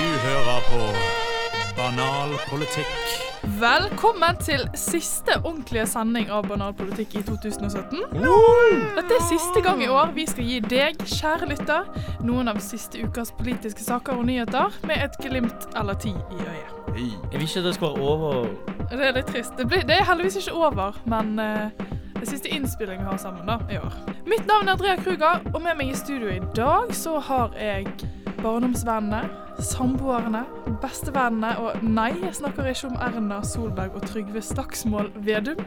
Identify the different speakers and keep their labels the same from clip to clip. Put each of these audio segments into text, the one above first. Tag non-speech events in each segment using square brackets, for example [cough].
Speaker 1: hører på Banal politikk.
Speaker 2: Velkommen til siste ordentlige sending av Banalpolitikk i 2017. Dette er siste gang i år vi skal gi deg, kjære lytter, noen av siste ukas politiske saker og nyheter med et glimt eller ti i øyet.
Speaker 3: Jeg vil ikke at det skal være over.
Speaker 2: Det er litt trist. Det, blir, det er heldigvis ikke over, men eh, det er siste innspilling vi har sammen da, i år. Mitt navn er Andrea Kruger, og med meg i studio i dag så har jeg barndomsvennene, samboerne, bestevennene og nei, jeg snakker ikke om Erna Solberg og Trygve Slagsmål Vedum.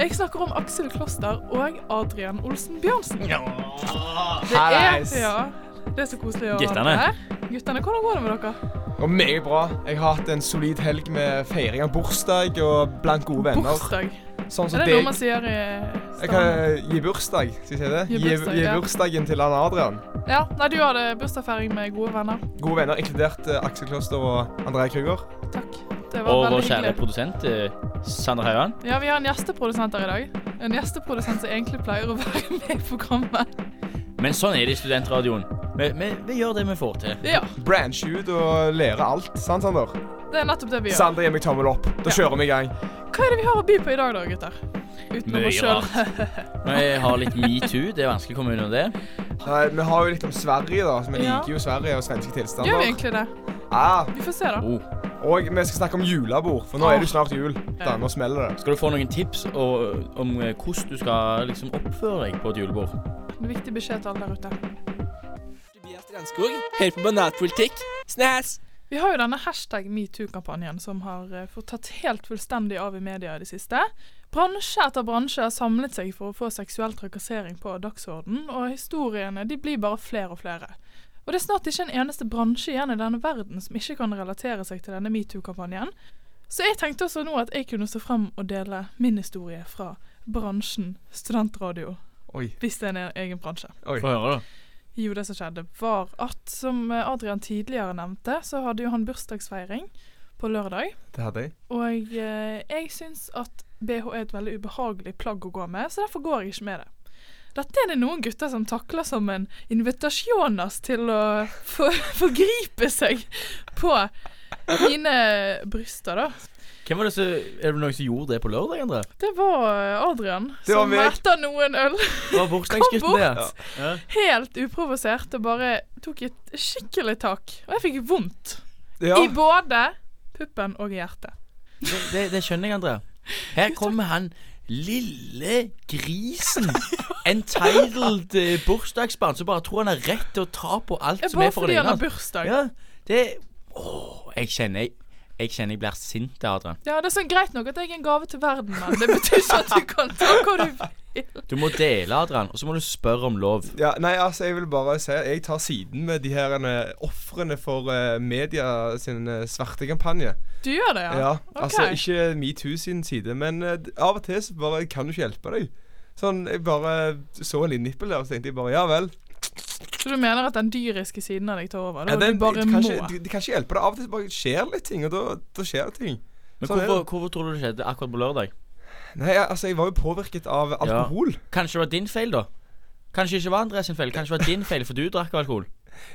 Speaker 2: Jeg snakker om Aksel Kloster og Adrian Olsen Bjørnsen. Det er,
Speaker 4: Hallais.
Speaker 2: ja, det er så koselig å ha
Speaker 3: Guttene.
Speaker 2: dere her. Guttene, hvordan går det med dere?
Speaker 4: Det var meget bra. Jeg har hatt en solid helg med feiring av bursdag og blant gode venner.
Speaker 2: Bursdag.
Speaker 4: Sånn som
Speaker 2: Er det noe
Speaker 4: deg.
Speaker 2: man sier i
Speaker 4: Jeg
Speaker 2: Stavanger?
Speaker 4: kan gi bursdag, skal jeg si det?
Speaker 2: Gi
Speaker 4: Gi,
Speaker 2: bursdag,
Speaker 4: gi
Speaker 2: ja.
Speaker 4: bursdagen til han Adrian.
Speaker 2: Ja, nei, du hadde bursdagsfeiring med gode venner.
Speaker 4: Gode venner, inkludert eh, Aksel Kloster og Andrea Krüger.
Speaker 2: Takk. Det var
Speaker 3: Og vår
Speaker 2: veldig
Speaker 3: kjære
Speaker 2: hyggelig.
Speaker 3: produsent eh, Sander Haugan.
Speaker 2: Ja, vi har en gjesteprodusent her i dag. En gjesteprodusent som egentlig pleier å være [laughs] med i programmet.
Speaker 3: Men sånn er det i studentradioen. Vi, vi, vi gjør det vi får til.
Speaker 2: Ja,
Speaker 4: Branch ut og lære alt, sant, Sander?
Speaker 2: det er nettopp det vi gjør.
Speaker 4: Sander gir meg tommel opp. Da
Speaker 2: Ja.
Speaker 4: kjører vi i gang.
Speaker 2: Hva er det vi har å by på i dag da, gutter? Utenom oss
Speaker 3: Mye
Speaker 2: sjøl.
Speaker 3: rart. Vi har litt metoo. Det er vanskelig å komme unna det.
Speaker 4: Nei, Eh, vi har jo litt om Sverige, da. så Vi
Speaker 2: Ja.
Speaker 4: liker jo Sverige og svenske
Speaker 2: [laughs]
Speaker 4: tilstander.
Speaker 2: Gjør vi egentlig det?
Speaker 4: Ja,
Speaker 2: Vi får se, da.
Speaker 3: Oh.
Speaker 4: og vi skal snakke om julebord, for nå er det jo snart jul.
Speaker 2: Ja.
Speaker 4: Da, nå smeller det.
Speaker 3: Skal du få noen tips og, om eh, hvordan du skal liksom, oppføre deg på et julebord?
Speaker 2: En viktig beskjed til alle der ute.
Speaker 5: Tobias Strandskog, hører på banatpolitikk. Snæs!
Speaker 2: Vi har jo denne hashtag metoo-kampanjen som har eh, fått tatt helt fullstendig av i media i det siste. Bransje etter bransje har samlet seg for å få seksuell trakassering på dagsordenen, og historiene de blir bare flere og flere. Og det er snart ikke en eneste bransje igjen i denne verden som ikke kan relatere seg til denne metoo-kampanjen. Så jeg tenkte også nå at jeg kunne stå frem og dele min historie fra bransjen studentradio,
Speaker 4: Oi.
Speaker 2: hvis det er en egen bransje.
Speaker 4: Oi.
Speaker 3: Få høre, da.
Speaker 2: Jo, det som skjedde var at, som eh, Adrian tidligere nevnte, så hadde jo han bursdagsfeiring på lørdag.
Speaker 4: Det hadde jeg.
Speaker 2: Og eh, jeg syns at BH er et veldig ubehagelig plagg å gå med, så derfor går jeg ikke med det. Dette er det noen gutter som takler som en invitasjonas til å [laughs] for, forgripe seg på mine bryster, da.
Speaker 3: Hvem var det som, er det noen som gjorde det på lørdag, André?
Speaker 2: Det var eh, Adrian
Speaker 4: Det
Speaker 2: som
Speaker 4: var meg.
Speaker 2: etter noen øl
Speaker 3: Det var bursdagsgutten,
Speaker 2: Kom
Speaker 3: det.
Speaker 4: bort.
Speaker 3: Ja.
Speaker 2: helt uprovosert og bare tok et skikkelig tak. Og jeg fikk vondt.
Speaker 4: Ja.
Speaker 2: I både puppen og i hjertet.
Speaker 3: Det, det, det skjønner jeg, André. Her kommer han lille grisen. Entitled eh, bursdagsbarn som bare tror han har rett til å ta på alt
Speaker 2: Jeg
Speaker 3: som
Speaker 2: bare
Speaker 3: er
Speaker 2: fordi
Speaker 3: foran
Speaker 2: han har
Speaker 3: øynene.
Speaker 2: bursdag. Ja.
Speaker 3: Ja, det Åh, jeg kjenner jeg, jeg kjenner jeg blir sint, Adrian.
Speaker 2: det er sånn greit nok at jeg er en gave til verden, men det betyr ikke at
Speaker 4: [laughs]
Speaker 2: du kan ta hva du vil.
Speaker 3: Du må dele, Adrian, og så må du spørre om lov.
Speaker 4: Ja, nei, altså, jeg vil bare si at jeg tar siden med de her eh, ofrene for eh, media sin eh, svarte kampanje.
Speaker 2: Du gjør det,
Speaker 4: Ja,
Speaker 2: ja?
Speaker 4: Altså,
Speaker 2: Ok.
Speaker 4: ikke metoo sin side, men eh, av og til så bare kan du ikke hjelpe deg. Sånn, Jeg bare så en liten nippel der, og så tenkte jeg bare ja vel.
Speaker 2: Så du mener at den dyriske siden av deg tar over?
Speaker 4: Ja,
Speaker 2: Da
Speaker 4: den-
Speaker 2: du bare
Speaker 4: du
Speaker 2: må?
Speaker 4: kan ikke- du, du kan ikke hjelpe deg. Av og til bare skjer litt ting, og da, da skjer det ting.
Speaker 3: Men
Speaker 4: Sånn er
Speaker 3: hvorfor, hvorfor tror du det skjedde akkurat på lørdag?
Speaker 4: Nei, ja, altså, jeg var jo påvirket av alkohol.
Speaker 3: Kanskje det var din feil, da? Kanskje det ikke var André sin feil? Kanskje det var din feil, for du drakk alkohol?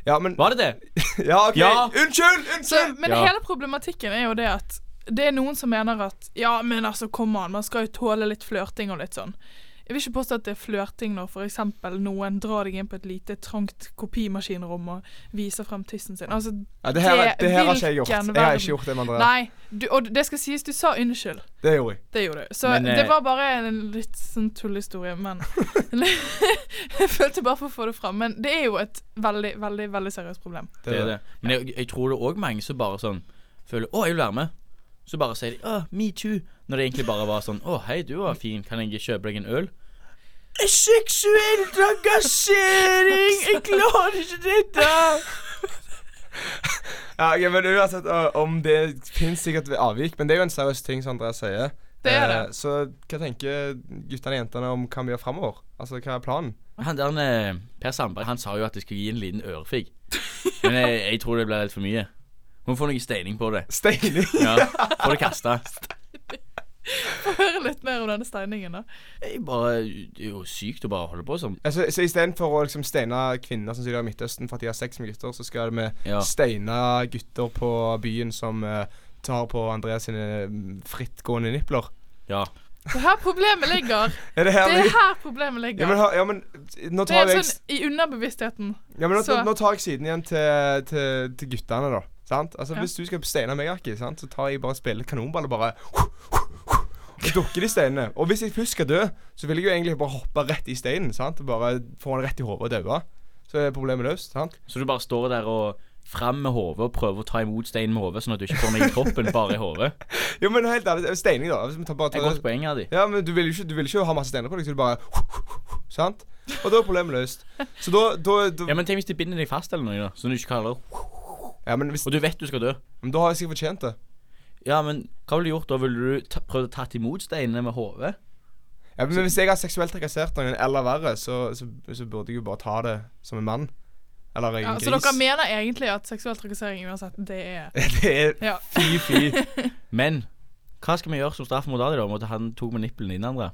Speaker 4: Ja, men
Speaker 3: Var det det?
Speaker 4: [laughs] Ja, OK.
Speaker 3: Ja.
Speaker 4: Unnskyld!
Speaker 2: Så,
Speaker 4: Unnskyld!
Speaker 2: men
Speaker 3: Ja.
Speaker 2: hele problematikken er jo det at det er noen som mener at ja, men altså, kom an, man skal jo tåle litt flørting og litt sånn. Jeg vil ikke påstå at det er flørting når f.eks. noen drar deg inn på et lite, trangt kopimaskinrom og viser frem tissen sin. Altså,
Speaker 4: Ja, det her,
Speaker 2: det-
Speaker 4: det her har ikke jeg gjort.
Speaker 2: hvilken
Speaker 4: Jeg har
Speaker 2: verden?
Speaker 4: ikke gjort det med Andrea.
Speaker 2: nei. Du, og det skal sies, du sa unnskyld.
Speaker 4: Det gjorde jeg.
Speaker 2: Det gjorde du. Så
Speaker 3: Men, eh,
Speaker 2: det var bare en litt sånn tullehistorie, men Jeg følte bare for å få det fram. Men det er jo et veldig, veldig veldig seriøst problem. [laughs]
Speaker 3: det, er det. Men jeg, jeg tror det er òg mange som bare sånn føler Å, jeg vil være med. Så bare sier de Å, me too. Når det egentlig bare var sånn Å, hei, du var fin. Kan jeg kjøpe deg en øl? Seksuell trakassering! Jeg klarer ikke dette!
Speaker 4: Ja, ok, men uansett ø, om det finnes sikkert avvik, men det er jo en seriøs ting som Andreas sier.
Speaker 2: Det er det.
Speaker 4: Eh, så hva tenker guttene og jentene om hva vi gjør framover? Altså, hva er planen?
Speaker 3: Han der eh, Per Sandberg han sa jo at jeg skulle gi en liten ørefik. Men jeg, jeg tror det
Speaker 2: [laughs]
Speaker 3: blir litt for mye. Må få noe steining på det.
Speaker 4: Steining?
Speaker 3: Ja, Få det kasta.
Speaker 2: Få høre litt mer om denne steiningen, da.
Speaker 3: Jeg bare, det er jo sykt å bare holde på sånn.
Speaker 4: [laughs] Altså, så istedenfor å liksom steine kvinner som sitter i Midtøsten for at de har sex med gutter, så skal vi
Speaker 3: Ja.
Speaker 4: steine gutter på byen som eh, tar på Andreas sine mm, frittgående nipler.
Speaker 3: Ja.
Speaker 2: Det er her problemet ligger.
Speaker 4: Er det her
Speaker 2: Det er
Speaker 4: vi-
Speaker 2: her problemet
Speaker 4: ja, men,
Speaker 2: ligger.
Speaker 4: ha- ja, men nå
Speaker 2: Det er
Speaker 4: tar jeg,
Speaker 2: sånn i underbevisstheten.
Speaker 4: ja, men nå,
Speaker 2: så-
Speaker 4: nå tar jeg siden igjen til, til, til guttene, da. Sant? Altså,
Speaker 2: Ja.
Speaker 4: Hvis du skal steine meg, Aki, sant? så tar jeg bare spiller kanonball og bare og dukker de steinene. Og hvis jeg først skal dø, så vil jeg jo egentlig bare hoppe rett i steinen. sant? Og bare få den rett i hodet og daue. Så er problemet løst. sant?
Speaker 3: Så du bare står der og fram med hodet og prøver å ta imot steinen med hodet, sånn at du ikke får den i kroppen, bare i [laughs] hodet.
Speaker 4: Jo, men helt ærlig, eh, steining, da. Hvis vi tar bare
Speaker 3: Det er godt poeng av de.
Speaker 4: Ja, men du vil jo ikke, du vil ikke ha masse steiner på deg, så du bare Sant? Og da er problemet løst. Så da, da, da
Speaker 3: Ja, men tenk hvis de binder deg fast eller noe, da, så du ikke kaller det.
Speaker 4: ja, men, hvis,
Speaker 3: Og du vet du skal dø.
Speaker 4: men da har jeg sikkert fortjent det.
Speaker 3: Ja, men hva ville du gjort da? Ville du ta, prøvd å tatt imot steinene med hodet?
Speaker 4: Ja, men hvis jeg har seksuelt trakassert noen, eller verre, så, så, så burde jeg jo bare ta det som en mann. Eller en
Speaker 2: Ja,
Speaker 4: gris.
Speaker 2: så dere mener egentlig at seksuell trakassering uansett, det er
Speaker 4: [laughs] Det er
Speaker 2: Ja.
Speaker 4: fy-fy.
Speaker 3: [laughs] Men hva skal vi gjøre som straff mot Ali, da? Om at han tok med nippelen din, André?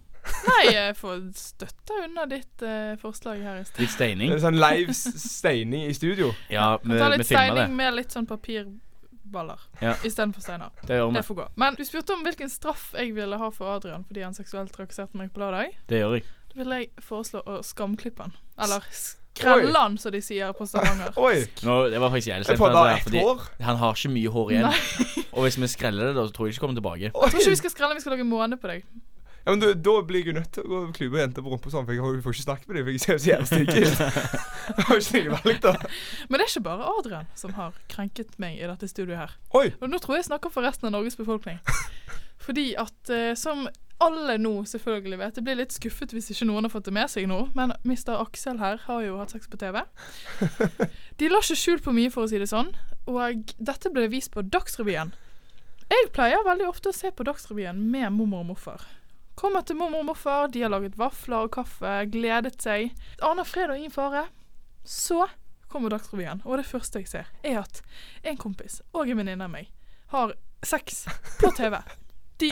Speaker 2: Nei, jeg får støtte unna ditt eh, forslag her i sted.
Speaker 3: Litt steining? [laughs]
Speaker 4: Det er sånn live s- steining i studio.
Speaker 3: Ja, vi,
Speaker 2: Ta
Speaker 3: vi
Speaker 2: litt
Speaker 3: filmer det.
Speaker 2: steining med litt sånn papirballer
Speaker 3: Ja.
Speaker 2: istedenfor steiner.
Speaker 3: Det gjør vi.
Speaker 2: Det får gå. Men du spurte om hvilken straff jeg ville ha for Adrian fordi han seksuelt trakasserte meg på lørdag.
Speaker 3: Det gjør jeg.
Speaker 2: Da vil jeg foreslå å skamklippe han. Eller skrelle han, som de sier på Stavanger.
Speaker 4: [laughs] Oi!
Speaker 3: Nå, det var faktisk jævlig
Speaker 4: Jeg
Speaker 3: slemt.
Speaker 4: får
Speaker 3: Andrea,
Speaker 4: bare ett
Speaker 3: fordi
Speaker 4: hår.
Speaker 3: Han har ikke mye hår igjen. Og hvis vi skreller det, da, så tror jeg ikke det kommer tilbake.
Speaker 2: Jeg tror ikke vi skal skrelle, vi skal lage måne på deg.
Speaker 4: Ja, men du, Da blir jeg jo nødt til å gå og klype jenter på rumpa sånn, for jeg har- jeg får ikke snakket med dem, for jeg ser jo så jævlig stygg ut. Jeg har ikke noe valg, da.
Speaker 2: Men det er ikke bare Adrian som har krenket meg i dette studioet her.
Speaker 4: Oi!
Speaker 2: Og nå tror jeg jeg snakker for resten av Norges befolkning. Fordi at eh, som alle nå selvfølgelig vet, jeg blir litt skuffet hvis ikke noen har fått det med seg nå, men Mr. Aksel her har jo hatt sex på TV. De la ikke skjul på mye, for å si det sånn, og dette ble vist på Dagsrevyen. Jeg pleier veldig ofte å se på Dagsrevyen med mormor og morfar. Kommer til mormor og morfar, de har laget vafler og kaffe, gledet seg. Aner fred og ingen fare. Så kommer Dagsrevyen, og det første jeg ser, er at en kompis og en venninne av meg har sex på TV. De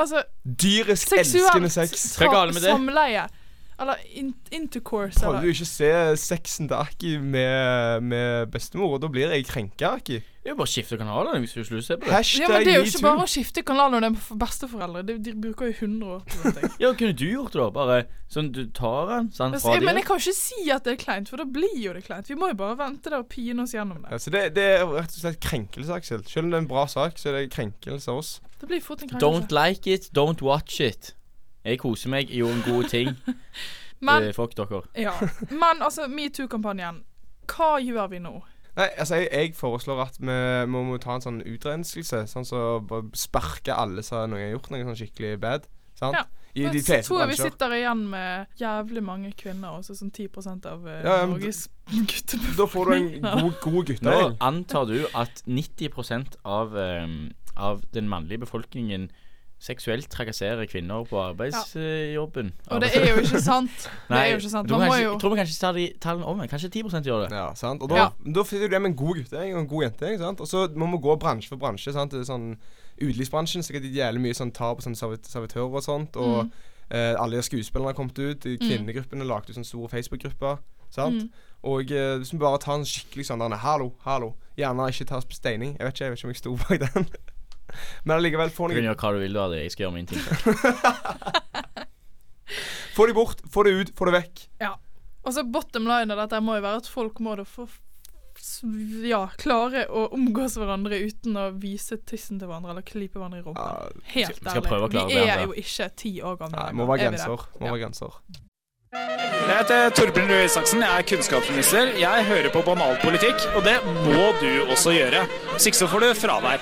Speaker 2: Altså,
Speaker 4: Dyrisk elskende
Speaker 2: seksuelt
Speaker 4: sex.
Speaker 3: Hva er
Speaker 2: tra-
Speaker 3: galt med det?
Speaker 2: samleie. Eller in intercourse,
Speaker 4: Prøvde du
Speaker 2: eller
Speaker 4: ikke å se sexen til Aki med, med bestemor, og da blir jeg krenka, Aki.
Speaker 3: Det er jo bare å skifte kanal da, hvis du ikke vil se på det.
Speaker 2: ja, men
Speaker 4: Hashtag
Speaker 2: Det er jo ikke bare
Speaker 4: metoo.
Speaker 2: å skifte kanal når det er for besteforeldre. De, de bruker jo 100 år på
Speaker 3: [laughs]
Speaker 2: sånne ting.
Speaker 3: Ja, hva kunne du gjort det, da? Bare sånn, du tar den sånn,
Speaker 2: Altså,
Speaker 3: fra
Speaker 2: jeg- men jeg
Speaker 3: deg.
Speaker 2: kan ikke si at det er kleint, for da blir jo det kleint. Vi må jo bare vente der og pine oss gjennom det.
Speaker 4: Altså, det, det er rett og slett krenkelse, Aksel. Selv om det er en bra sak, så er det krenkelse av oss.
Speaker 2: Det blir fort en
Speaker 3: Don't
Speaker 2: krenkelse.
Speaker 3: like it, don't watch it. Jeg koser meg, jeg gjorde en god
Speaker 2: [laughs]
Speaker 3: ting.
Speaker 2: Men,
Speaker 3: Eh, fuck dere.
Speaker 2: ja. men altså, metoo-kampanjen. Hva gjør vi nå?
Speaker 4: Nei, altså, jeg, jeg foreslår at vi må, må ta en sånn utrenskelse. Sånn som så bare sparke alle som har noen har gjort noe sånn skikkelig bad. Sant?
Speaker 2: Ja.
Speaker 4: I de
Speaker 2: jeg
Speaker 4: fleste
Speaker 2: tror jeg vi
Speaker 4: bransjer.
Speaker 2: sitter igjen med jævlig mange kvinner, også sånn 10 av eh,
Speaker 4: Ja, ja, men-
Speaker 2: Norges gutter.
Speaker 4: Da får du en
Speaker 2: [laughs]
Speaker 4: god, god
Speaker 3: Nå
Speaker 4: guttegjeng.
Speaker 3: antar du at 90 av, eh, av den mannlige befolkningen seksuelt trakasserer kvinner på arbeidsjobben.
Speaker 2: Og det er jo ikke sant. Det er
Speaker 3: [laughs] Nei,
Speaker 2: jo ikke sant.
Speaker 3: jeg tror
Speaker 2: Man må
Speaker 3: kanskje-
Speaker 2: jo
Speaker 3: Jeg tror vi kanskje tar de tallene om. Kanskje 10 gjør det.
Speaker 4: Ja, sant? Og da,
Speaker 2: Ja.
Speaker 4: da sitter du der med en god guttegjeng og en god jentegjeng. sant? Og så må vi gå bransje for bransje. sant? Det er sånn Utelivsbransjen sikkert jævlig mye sånn tar på sånn servit servitører og sånt.
Speaker 2: Mm.
Speaker 4: Og eh, alle de skuespillerne har kommet ut. i Kvinnegruppene lagde jo sånn store Facebook-grupper.
Speaker 2: Mm.
Speaker 4: sant? Og eh, hvis vi bare tar en skikkelig sånn derne, Hallo, hallo. Gjerne ikke tas på steining. Jeg vet ikke, jeg vet ikke om jeg sto bak den. [laughs] Men allikevel, få
Speaker 3: Du kan
Speaker 4: dem
Speaker 3: gjøre hva du vil, du, Ali. Jeg skal gjøre min ting.
Speaker 4: få de bort, få det ut, få det vekk.
Speaker 2: Ja. Altså, bottom line av dette må jo være at folk må da få s- Ja, klare å omgås hverandre uten å vise tissen til hverandre eller klype hverandre i rumpa.
Speaker 4: Ja,
Speaker 2: Helt
Speaker 3: skal- skal prøve å
Speaker 2: ærlig.
Speaker 3: klare
Speaker 2: Vi
Speaker 3: det,
Speaker 2: er
Speaker 3: altså.
Speaker 2: jo ikke ti år gamle.
Speaker 4: nei, må
Speaker 2: er
Speaker 4: være
Speaker 2: vi det?
Speaker 4: grenser. Må
Speaker 2: Ja.
Speaker 4: være grenser.
Speaker 6: Jeg heter Torbjørn Røe Isaksen, jeg er kunnskapsminister. Jeg hører på banalpolitikk, og det må du også gjøre. Hvis ikke så får du fravær.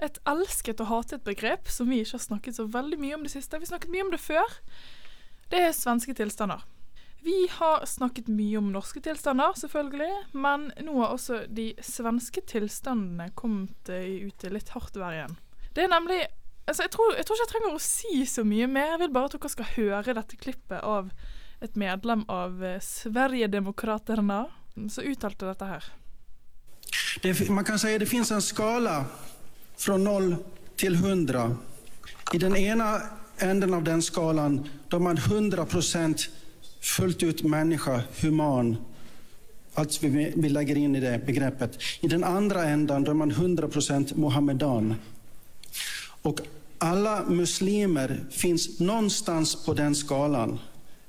Speaker 2: Et elsket og hatet begrep som vi ikke har snakket så veldig mye om det siste. Vi har snakket mye om det før. Det er svenske tilstander. Vi har snakket mye om norske tilstander, selvfølgelig, men nå har også de svenske tilstandene kommet eh, ut i litt hardt vær igjen. Det er nemlig altså jeg, tror, jeg tror ikke jeg trenger å si så mye mer. Jeg vil bare at dere skal høre dette klippet av et medlem av eh, Sverigedemokraterna som uttalte dette her.
Speaker 7: Det, man kan säga att det finns en skala från 0 till 100. I den ena änden av den skalan, då är man 100% fullt ut människa, human. Allt vi, vi lägger in i det begreppet. I den andra ändan, då är man 100% mohammedan. Och alla muslimer finns någonstans på den skalan.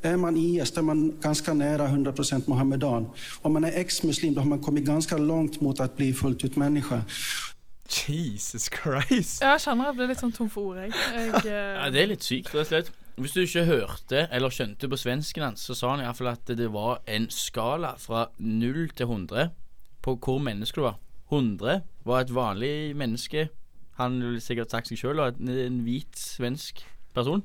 Speaker 7: Är man IS, då är man ganska nära 100% mohammedan. Om man är ex-muslim, då har man kommit ganska långt mot att bli fullt ut människa.
Speaker 4: Jesus Christ.
Speaker 2: Jeg kjenner jeg blir litt sånn tom for ord, jeg. jeg
Speaker 3: [laughs]
Speaker 2: eh,
Speaker 3: Ja, det er litt sykt, rett og slett. Hvis du ikke hørte eller skjønte på svensken hans, så sa han iallfall at det var en skala fra 0 til 100 på hvor menneske du var. 100 var et vanlig menneske. Han ville sikkert sagt seg sjøl, en, en hvit svensk person.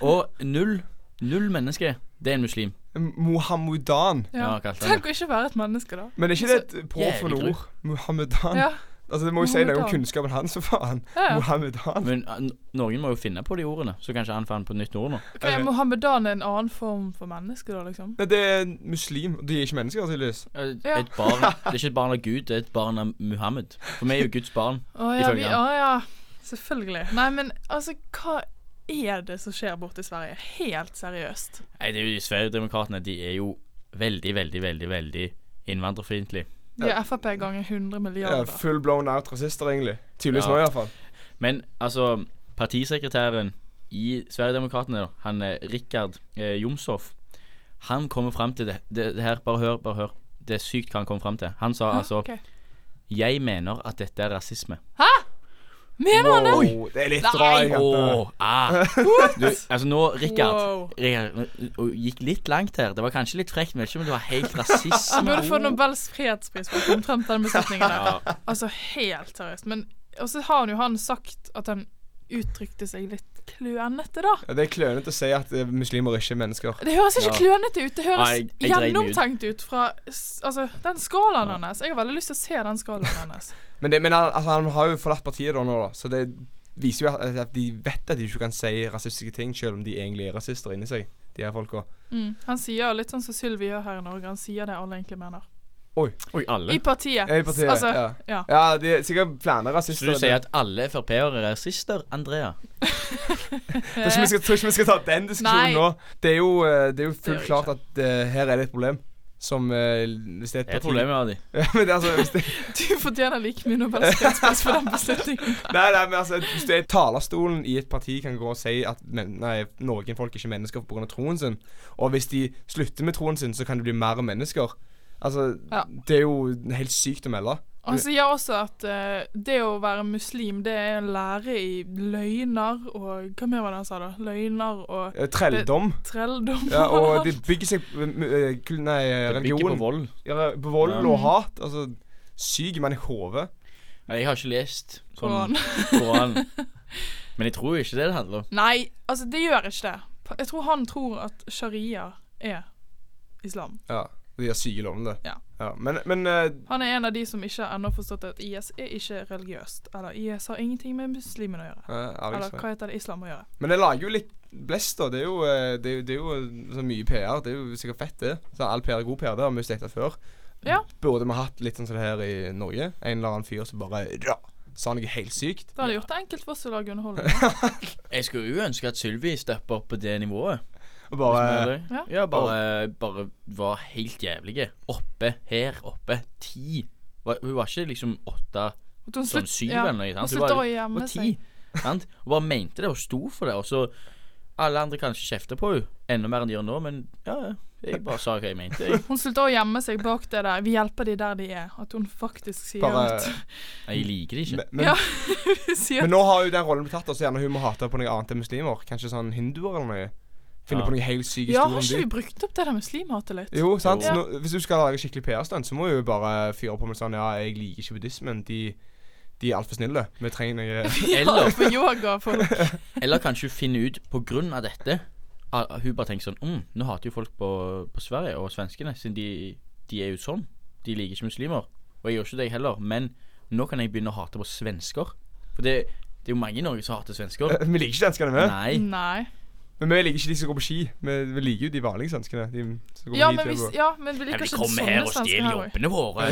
Speaker 3: Og null, null menneske, det er en muslim.
Speaker 4: Mohammedan.
Speaker 3: Ja,
Speaker 2: ja.
Speaker 3: kalte han
Speaker 2: Tenk å ikke være et menneske, da.
Speaker 4: Men er ikke det et påfunnet
Speaker 3: jævlig
Speaker 4: ord? Mohammedan.
Speaker 2: Ja,
Speaker 4: Altså, det må jo si noe om
Speaker 2: Mohammedan.
Speaker 4: kunnskapen hans, for faen.
Speaker 2: ja, ja.
Speaker 4: Mohammedan.
Speaker 3: Men eh, noen må jo finne på de ordene, så kanskje han fant på nytt ord nå.
Speaker 2: Ok, Mohammedan er en annen form for menneske, da, liksom?
Speaker 4: Nei, det er en muslim. og De er ikke mennesker, tydeligvis.
Speaker 3: Et
Speaker 2: Ja.
Speaker 3: et barn, det er ikke et barn av Gud, det er et barn av Muhammed. For vi er jo Guds barn.
Speaker 2: Å ja, vi,
Speaker 3: Ifølge
Speaker 2: å, ja. Selvfølgelig. Nei, men altså, hva er det som skjer borte i Sverige? Helt seriøst.
Speaker 3: Nei, det er jo de Sverigedemokraterna. De er jo veldig, veldig, veldig veldig innvandrerfiendtlige.
Speaker 2: De er Frp ganger 100
Speaker 4: Ja,
Speaker 2: milliarder.
Speaker 4: full blown out rasister, egentlig. Tydeligvis
Speaker 3: Ja.
Speaker 4: nå, iallfall.
Speaker 3: Men altså, partisekretæren i Sverigedemokraterna, da, han eh, Rikard eh, Jomshoff, han kommer fram til det. det. Det her, bare hør, bare hør. Det er sykt hva han kom fram til. Han sa
Speaker 2: Hæ?
Speaker 3: altså
Speaker 2: Ok.
Speaker 3: Jeg mener at dette er rasisme.
Speaker 2: Mener han det?
Speaker 4: Wow, det er litt draing. dette.
Speaker 3: Åh, ah. du, altså nå, Rikard
Speaker 2: Wow.
Speaker 3: Rikard nå- nå gikk litt langt her. Det var kanskje litt frekt, men ikke om det var helt rasisme.
Speaker 2: [laughs] Han burde få Nobels fredspris for omtrent den beslutningen der.
Speaker 3: Ja.
Speaker 2: Altså, helt seriøst. Men Og så har han jo han sagt at han uttrykte seg litt klønete, da.
Speaker 4: Ja, det er klønete å si at eh, muslimer ikke er mennesker.
Speaker 2: Det høres ikke
Speaker 3: Ja.
Speaker 2: klønete ut. Det høres
Speaker 3: Nei, jeg dreit meg ut.
Speaker 2: gjennomtenkt ut fra s- altså, den skalaen hans. Jeg har veldig lyst til å se den skalaen hans.
Speaker 4: Men, det, men han, altså, han har jo forlatt partiet da nå, da. Så det viser jo at, at de vet at de ikke kan si rasistiske ting, selv om de egentlig er rasister inni seg, de her folka.
Speaker 2: [laughs] Mm. Han sier jo litt sånn som Sylvi gjør her i Norge. Han sier det alle egentlig mener.
Speaker 3: Oi, alle.
Speaker 2: I partiet.
Speaker 4: Ja, i partiet,
Speaker 2: altså,
Speaker 4: ja.
Speaker 2: ja. [laughs]
Speaker 4: Ja, de er sikkert flere
Speaker 3: Så
Speaker 4: rasister.
Speaker 3: du sier at alle Frp-ere er rasister, Andrea?
Speaker 4: det, jeg tror ikke vi skal, tror ikke vi skal ta den
Speaker 2: Nei.
Speaker 4: diskusjonen nå. Det er jo, eh, det er jo
Speaker 2: gjør
Speaker 4: fullt
Speaker 2: vi
Speaker 4: klart at eh, her er det et problem. Som eh, hvis det er
Speaker 3: Det
Speaker 4: et
Speaker 3: er
Speaker 4: parti
Speaker 3: problemet med de.
Speaker 4: [laughs] Ja, men det, er altså, hvis det, [laughs]
Speaker 2: Du fortjener like mye Nobels fredspris for den beslutningen.
Speaker 4: [laughs] nei, nei, men altså, hvis det er talerstolen i et parti kan gå og si at men, nei, noen folk er ikke mennesker pga. troen sin, og hvis de slutter med troen sin, så kan de bli mer mennesker Altså,
Speaker 2: Ja.
Speaker 4: det er jo helt sykt å melde.
Speaker 2: Han sier også at eh, det å være muslim, det er en lære i løgner og Hva mer var det han sa, da? Løgner og
Speaker 4: Eh, Trelldom.
Speaker 2: trelldom.
Speaker 4: Ja, og
Speaker 2: [laughs]
Speaker 4: de bygger seg m- m- kul- Nei,
Speaker 3: Det bygger på
Speaker 4: religion.
Speaker 3: vold.
Speaker 4: Ja, På vold
Speaker 3: Ja.
Speaker 4: og hat. Altså, syk mann i hodet.
Speaker 3: Nei, Jeg har ikke lest
Speaker 2: Koran.
Speaker 3: sånn Koran.
Speaker 2: [laughs]
Speaker 3: Men jeg tror jo ikke det det handler om.
Speaker 2: Nei, altså, det gjør ikke det. Pa- Jeg tror han tror at sharia er islam.
Speaker 4: Ja, de har syke lovende.
Speaker 2: Ja.
Speaker 4: Ja, men men eh,
Speaker 2: Han er en av de som ikke ennå har forstått at IS er ikke religiøst. Eller IS har ingenting med muslimene å gjøre.
Speaker 4: eh, Alex,
Speaker 2: Eller hva heter det? Islam å gjøre.
Speaker 4: Men det lager jo litt blest, da. Det er jo, eh, det er jo, det er jo så mye PR. Det er jo sikkert fett, det. Så All PR er god PR. Det har vi jo sett før.
Speaker 2: Ja.
Speaker 4: Burde vi hatt litt sånn som det her i Norge? En eller annen fyr som bare ja, sa noe helt sykt.
Speaker 2: Da hadde jeg gjort det enkelt for oss å lage underholdning.
Speaker 3: Jeg skulle jo ønske at Sylvi steppa opp på det nivået. hvis
Speaker 4: Og bare
Speaker 3: vi gjør det.
Speaker 2: Ja.
Speaker 3: Ja, bare, bare var helt jævlige. Oppe, her, oppe. Ti. Var- Hun var ikke liksom åtte,
Speaker 2: At hun
Speaker 3: sånn
Speaker 2: slutt-
Speaker 3: syv
Speaker 2: ja,
Speaker 3: eller noe.
Speaker 2: Hun
Speaker 3: sant? Hun
Speaker 2: slutta å
Speaker 3: var,
Speaker 2: gjemme
Speaker 3: var
Speaker 2: seg.
Speaker 3: ti. Sant? Hun bare mente det og sto for det. Og så alle andre kanskje kjefter på henne enda mer enn de gjør nå, men ja, jeg bare sa hva jeg mente. Jeg,
Speaker 2: Hun slutta å gjemme seg bak det der 'vi hjelper de der de er'. At hun faktisk sier
Speaker 4: Bare-
Speaker 2: at [laughs]
Speaker 3: jeg liker det
Speaker 4: [laughs]
Speaker 3: ikke.
Speaker 4: men, men,
Speaker 2: Ja. sier,
Speaker 4: men nå har jo den rollen blitt tatt, og så gjerne hun må hate på noe annet enn muslimer. At Kanskje sånn hinduer eller noe. Finne
Speaker 3: Ja.
Speaker 4: på noe helt syk
Speaker 2: Ja,
Speaker 4: historie
Speaker 2: har
Speaker 4: om
Speaker 2: ikke vi
Speaker 4: de.
Speaker 2: brukt opp det der muslimhatet litt?
Speaker 4: Jo, sant?
Speaker 3: Jo.
Speaker 4: Så Nå, hvis du skal lage skikkelig PR-stunt, så må du jo bare fyre på med sånn Ja, jeg liker ikke buddhismen. De, de er altfor snille. Vi
Speaker 2: [laughs]
Speaker 4: trenger noe
Speaker 2: [laughs]
Speaker 4: [laughs]
Speaker 2: Ja,
Speaker 3: Eller-
Speaker 2: for yoga for
Speaker 3: Eller kanskje hun finner ut på grunn av dette at Hun bare tenker sånn mm, Nå hater jo folk på, på Sverige og svenskene, siden de, de er jo sånn. De liker ikke muslimer. Og jeg gjør ikke det, jeg heller. Men nå kan jeg begynne å hate på svensker. For det, det er jo mange i Norge som hater svensker.
Speaker 4: Vi liker ikke danskene, vi.
Speaker 3: Nei.
Speaker 2: Nei.
Speaker 4: Men vi liker ikke de som går på ski. Vi, vi liker jo de vanlighetssvenskene. De som går
Speaker 2: Ja,
Speaker 4: på
Speaker 2: men,
Speaker 4: ski
Speaker 2: hvis,
Speaker 4: til å gå.
Speaker 2: ja, men vi
Speaker 3: Jeg
Speaker 2: liker
Speaker 3: vil
Speaker 2: ikke sånne
Speaker 3: komme her og
Speaker 2: svensker
Speaker 3: stjele
Speaker 2: her òg.
Speaker 3: jobbene våre.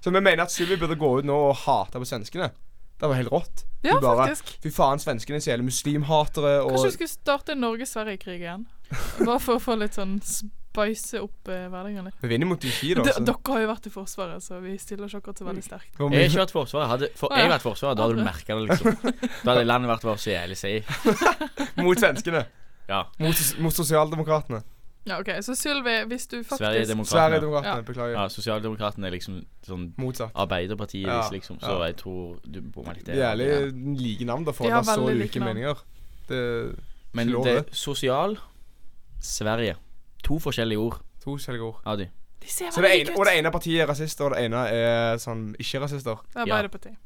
Speaker 4: Så vi mener at Sylvi burde gå ut nå og hate på svenskene. Det var helt rått.
Speaker 2: Ja,
Speaker 4: Du bare,
Speaker 2: faktisk.
Speaker 4: Fy faen, svenskene er så jævlig muslimhatere. Og
Speaker 2: Kanskje vi skulle starte en Norge-Sverige-krig igjen? Bare for å få litt sånn spice opp eh, hverdagen litt.
Speaker 4: vi vinner mot Turki, da.
Speaker 2: D-
Speaker 4: så- Mm.
Speaker 2: Dere har jo vært i Forsvaret, så vi stiller oss akkurat så veldig sterkt.
Speaker 4: Hvor
Speaker 3: Jeg har
Speaker 4: mye-
Speaker 3: ikke vært forsvaret. Hadde, for, jeg har vært forsvaret, da hadde du merka det, liksom. Da hadde landet vært vårt så jævlig seig.
Speaker 4: Mot svenskene.
Speaker 3: Ja.
Speaker 4: Mot, mot sosialdemokratene.
Speaker 2: Ja, ok, Så Sylvi, hvis du faktisk
Speaker 3: Sverigedemokratene.
Speaker 4: Sverigedemokratene.
Speaker 2: Ja.
Speaker 4: Beklager.
Speaker 3: Ja, Sosialdemokratene er liksom sånn
Speaker 4: Motsatt.
Speaker 3: Arbeiderpartiet,
Speaker 4: Ja,
Speaker 3: liksom. Så
Speaker 4: ja.
Speaker 3: jeg tror du bomma litt der.
Speaker 4: Jævlig
Speaker 3: Ja.
Speaker 4: like navn, da, for
Speaker 2: De
Speaker 4: å
Speaker 2: har
Speaker 4: ha så
Speaker 2: veldig like
Speaker 4: ulike
Speaker 2: navn.
Speaker 4: meninger. Det
Speaker 3: Men
Speaker 4: Slår
Speaker 3: det er sosial Sverige. To forskjellige ord,
Speaker 4: to forskjellige ord.
Speaker 3: Adi.
Speaker 2: De ser
Speaker 4: Så det
Speaker 2: veldig
Speaker 4: ene, og
Speaker 2: like ut.
Speaker 4: det ene partiet er rasister, og det ene er sånn ikke-rasister.
Speaker 2: Det er Arbeiderpartiet.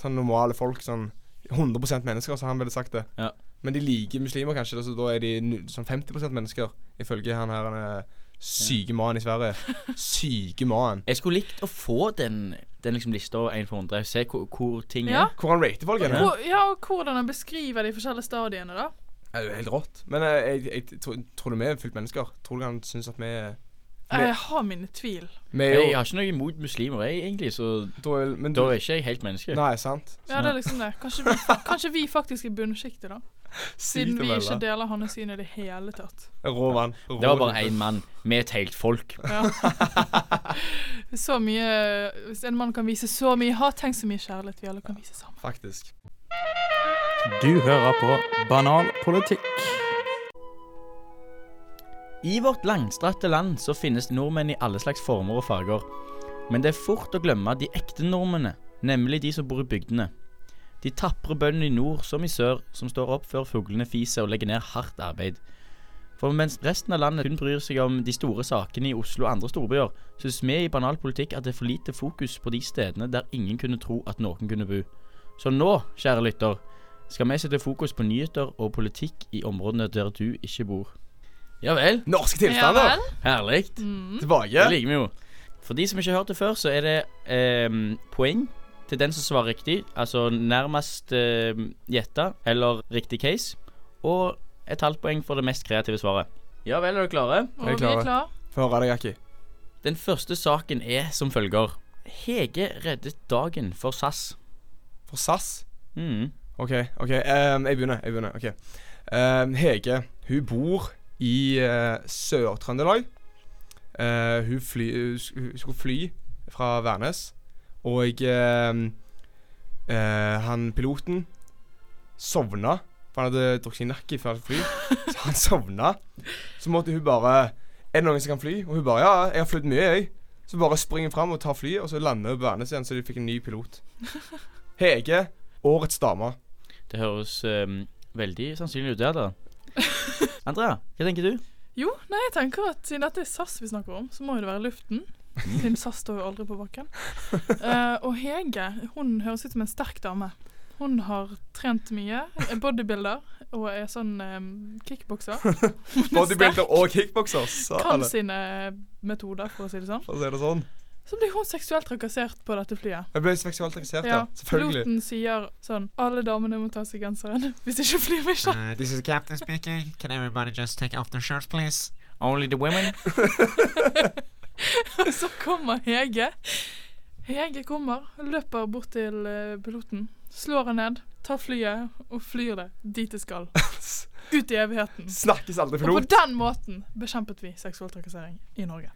Speaker 4: Sånn normale folk. Sånn 100 mennesker, så han ville sagt det.
Speaker 3: Ja.
Speaker 4: Men de liker muslimer, kanskje, da, så da er de nu- sånn 50 mennesker, ifølge han her han er syke mannen i Sverige. Syke mannen.
Speaker 3: Jeg skulle likt å få den, den liksom lista over 1 for 100. Se hvor, hvor ting
Speaker 2: Ja.
Speaker 3: er.
Speaker 4: Hvor han rater folk, er det?
Speaker 2: Hvor, ja, og hvordan han beskriver de forskjellige stadiene, da.
Speaker 4: Ja, Det er jo helt rått. Men eh, jeg, jeg, tro- tror du vi er fullt mennesker? Tror du han syns at vi er Men-
Speaker 2: Jeg har mine tvil.
Speaker 4: Vi er
Speaker 3: Jeg,
Speaker 4: jo
Speaker 3: har ikke noe imot muslimer, jeg, egentlig, så
Speaker 4: da er- Men
Speaker 3: da
Speaker 4: du
Speaker 3: er ikke jeg helt menneske.
Speaker 4: Nei, sant?
Speaker 2: Ja, det er liksom det. Kanskje vi, kanskje vi faktisk er bunnsjiktet,
Speaker 4: [laughs]
Speaker 2: da. Siden
Speaker 4: Sykt å
Speaker 2: vi ikke
Speaker 4: melde.
Speaker 2: deler hans syn i det hele tatt.
Speaker 4: Rå mann. Rå
Speaker 3: Det var bare
Speaker 4: type.
Speaker 3: én mann med et helt folk.
Speaker 2: Ja. Så mye Hvis en mann kan vise så mye hat, tenk så mye kjærlighet vi alle kan vise sammen.
Speaker 4: Faktisk.
Speaker 1: Du hører på Banal politikk.
Speaker 3: I vårt langstrakte land så finnes nordmenn i alle slags former og farger. Men det er fort å glemme de ekte nordmennene, nemlig de som bor i bygdene. De tapre bøndene i nord som i sør, som står opp før fuglene fiser og legger ned hardt arbeid. For mens resten av landet kun bryr seg om de store sakene i Oslo og andre storbyer, synes vi i banal politikk at det er for lite fokus på de stedene der ingen kunne tro at noen kunne bo. Så nå, kjære lytter, skal vi sette fokus på nyheter og politikk i områdene der du ikke bor. Ja vel.
Speaker 4: Norske
Speaker 2: Ja
Speaker 4: tilstander!
Speaker 2: vel?
Speaker 3: Herlig.
Speaker 4: Tilbake.
Speaker 3: Det liker vi jo. For de som ikke har hørt det før, så er det ehm, poeng til den som svarer riktig. Altså nærmest ehm, gjetta eller riktig case. Og et halvt poeng for det mest kreative svaret. Ja vel, er dere klare?
Speaker 2: Og
Speaker 4: Jeg er
Speaker 2: vi er
Speaker 4: klar.
Speaker 2: klare.
Speaker 4: Få høre deg, Jackie.
Speaker 3: Den første saken er som følger. Hege reddet dagen for SAS.
Speaker 4: For SAS
Speaker 3: Mm.
Speaker 4: OK, ok, ehm, jeg begynner. jeg begynner, ok Ehm, Hege hun bor i eh, Sør-Trøndelag. Eh, hun, fly, hun sk- hun skulle fly fra Værnes, og ehm, eh, han piloten sovna. For han hadde drukket seg nakke før han skulle fly. Så han sovna. Så måtte hun bare Er det noen som kan fly? Og hun bare Ja, jeg har flydd mye, jeg. Så bare springer hun fram og tar flyet, og så lander hun på Værnes igjen, så de fikk en ny pilot. Hege, årets dame.
Speaker 3: Det høres ehm, veldig sannsynlig ut, det da. Andrea, hva tenker du?
Speaker 2: Jo, nei, jeg tenker at siden dette er SAS vi snakker om, så må jo det være luften.
Speaker 4: [laughs]
Speaker 2: Siden SAS står jo aldri på bakken. Eh, og Hege hun høres ut som en sterk dame. Hun har trent mye, er bodybuilder og er sånn eh,
Speaker 4: [laughs]
Speaker 2: kickbokser.
Speaker 4: Bodybuilder og kickbokser. sa
Speaker 2: Kan
Speaker 4: alle.
Speaker 2: sine eh, metoder, for å si det sånn.
Speaker 4: For å si det sånn.
Speaker 2: Så blir hun seksuelt trakassert på dette flyet.
Speaker 4: Jeg ble seksuelt interessert, ja.
Speaker 2: Ja,
Speaker 4: Selvfølgelig.
Speaker 2: Piloten sier sånn Alle damene må ta av seg genseren hvis ikke flyet blir kjapt.
Speaker 8: Uh, this is the captain speaking. Can everybody just take off their shirts, please?
Speaker 3: Only the women?
Speaker 2: Og [laughs] så kommer Hege. Hege kommer, løper bort til eh, piloten, slår han ned, tar flyet og flyr det dit det skal. Ut i
Speaker 4: [laughs]
Speaker 2: evigheten.
Speaker 4: Snakkes aldri
Speaker 2: Og på
Speaker 4: pilot.
Speaker 2: den måten bekjempet vi seksuell trakassering i Norge.